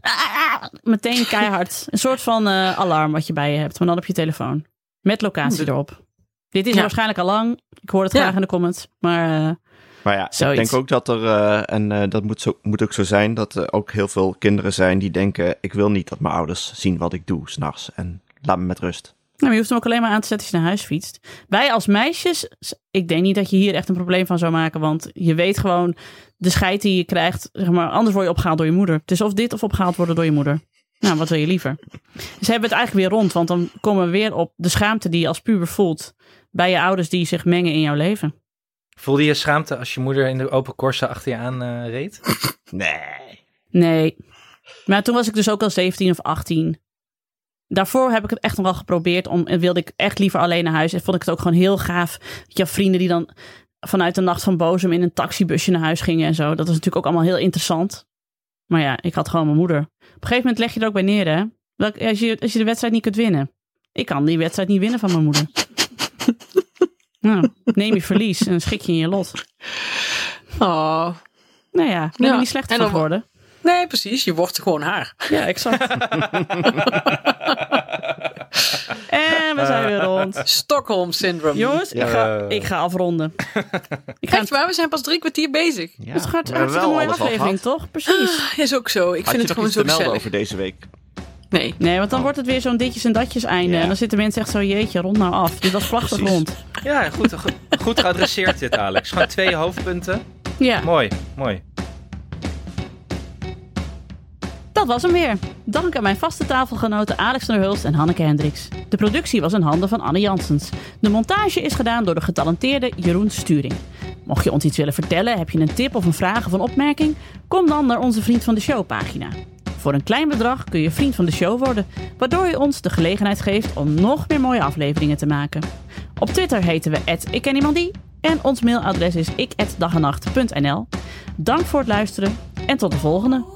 [SPEAKER 4] ah, ah, meteen keihard. Een soort van eh, alarm wat je bij je hebt, maar dan op je telefoon. Met locatie erop. Dit is
[SPEAKER 2] Hm.
[SPEAKER 4] er
[SPEAKER 2] Ja.
[SPEAKER 4] waarschijnlijk al lang. Ik hoor het
[SPEAKER 2] Ja.
[SPEAKER 4] graag in de comments. Maar eh,
[SPEAKER 1] Maar ja,
[SPEAKER 4] Zoiets.
[SPEAKER 1] ik denk ook dat er, eh, en eh, dat moet, zo, moet ook zo zijn, dat er ook heel veel kinderen zijn die denken, ik wil niet dat mijn ouders zien wat ik doe s'nachts en laat me met rust.
[SPEAKER 4] nou, je hoeft hem ook alleen maar aan te zetten als je naar huis fietst. Wij als meisjes, ik denk niet dat je hier echt een probleem van zou maken. Want je weet gewoon de scheid die je krijgt, zeg maar, anders word je opgehaald door je moeder. Het is of dit of opgehaald worden door je moeder. Nou, wat wil je liever? Ze hebben het eigenlijk weer rond, want dan komen we weer op de schaamte die je als puber voelt bij je ouders die zich mengen in jouw leven.
[SPEAKER 3] Voelde je schaamte als je moeder in de open Corsa achter je aan eh, reed?
[SPEAKER 1] Nee.
[SPEAKER 4] Nee. Maar toen was ik dus ook al 17 of 18. Daarvoor heb ik het echt nog wel geprobeerd om en wilde ik echt liever alleen naar huis. En vond ik het ook gewoon heel gaaf. Weet je, vrienden die dan vanuit de nacht van Bozem in een taxibusje naar huis gingen en zo. Dat was natuurlijk ook allemaal heel interessant. Maar ja, ik had gewoon mijn moeder. Op een gegeven moment leg je er ook bij neer, hè? Welk- Als je, als je de wedstrijd niet kunt winnen. Ik kan die wedstrijd niet winnen van mijn moeder. nou, neem je verlies en schik je in je lot.
[SPEAKER 2] Oh.
[SPEAKER 4] Nou ja, ik ben
[SPEAKER 2] Ja,
[SPEAKER 4] er niet slechter
[SPEAKER 2] en
[SPEAKER 4] van
[SPEAKER 2] dan-
[SPEAKER 4] geworden.
[SPEAKER 2] Nee, precies. Je wordt gewoon haar.
[SPEAKER 4] Ja, exact. en we zijn weer rond.
[SPEAKER 2] Stockholm syndroom.
[SPEAKER 4] Jongens, ik, ga,
[SPEAKER 3] Ja.
[SPEAKER 4] ik ga afronden. Ik ga
[SPEAKER 2] Echt waar, we zijn pas drie kwartier bezig. Ah,
[SPEAKER 1] Ja,
[SPEAKER 4] het is
[SPEAKER 1] we
[SPEAKER 4] hart,
[SPEAKER 1] hebben
[SPEAKER 4] hartstikke
[SPEAKER 1] wel
[SPEAKER 4] mooie
[SPEAKER 1] alles al
[SPEAKER 4] aflevering,
[SPEAKER 1] gehad. Ah,
[SPEAKER 4] toch? Precies.
[SPEAKER 2] Is ook zo. Ik
[SPEAKER 1] Had je
[SPEAKER 2] vind het
[SPEAKER 1] nog
[SPEAKER 2] gewoon
[SPEAKER 1] iets
[SPEAKER 2] zo
[SPEAKER 1] te melden
[SPEAKER 2] gezellig.
[SPEAKER 1] over deze week?
[SPEAKER 2] Nee.
[SPEAKER 4] Nee, want dan wordt het weer zo'n ditjes en datjes einde.
[SPEAKER 1] Ja.
[SPEAKER 4] En dan zitten mensen echt zo, jeetje, rond nou af. Dit was prachtig
[SPEAKER 1] Precies.
[SPEAKER 4] rond.
[SPEAKER 3] Ja, goed, goed, goed geadresseerd dit, Alex. Gewoon twee hoofdpunten.
[SPEAKER 4] Ja,
[SPEAKER 3] Mooi, mooi.
[SPEAKER 4] dat was hem weer. Dank aan mijn vaste tafelgenoten Alex van der Hulst en Hanneke Hendricks. De productie was in handen van Anne Janssens. De montage is gedaan door de getalenteerde Jeroen Sturing. Mocht je ons iets willen vertellen, heb je een tip of een vraag of een opmerking? Kom dan naar onze Vriend van de Show pagina. Voor een klein bedrag kun je vriend van de show worden, waardoor je ons de gelegenheid geeft om nog meer mooie afleveringen te maken. Op Twitter heten we @ikkenniemandie en ons mailadres is ik@dagenacht.nl. Dank voor het luisteren en tot de volgende.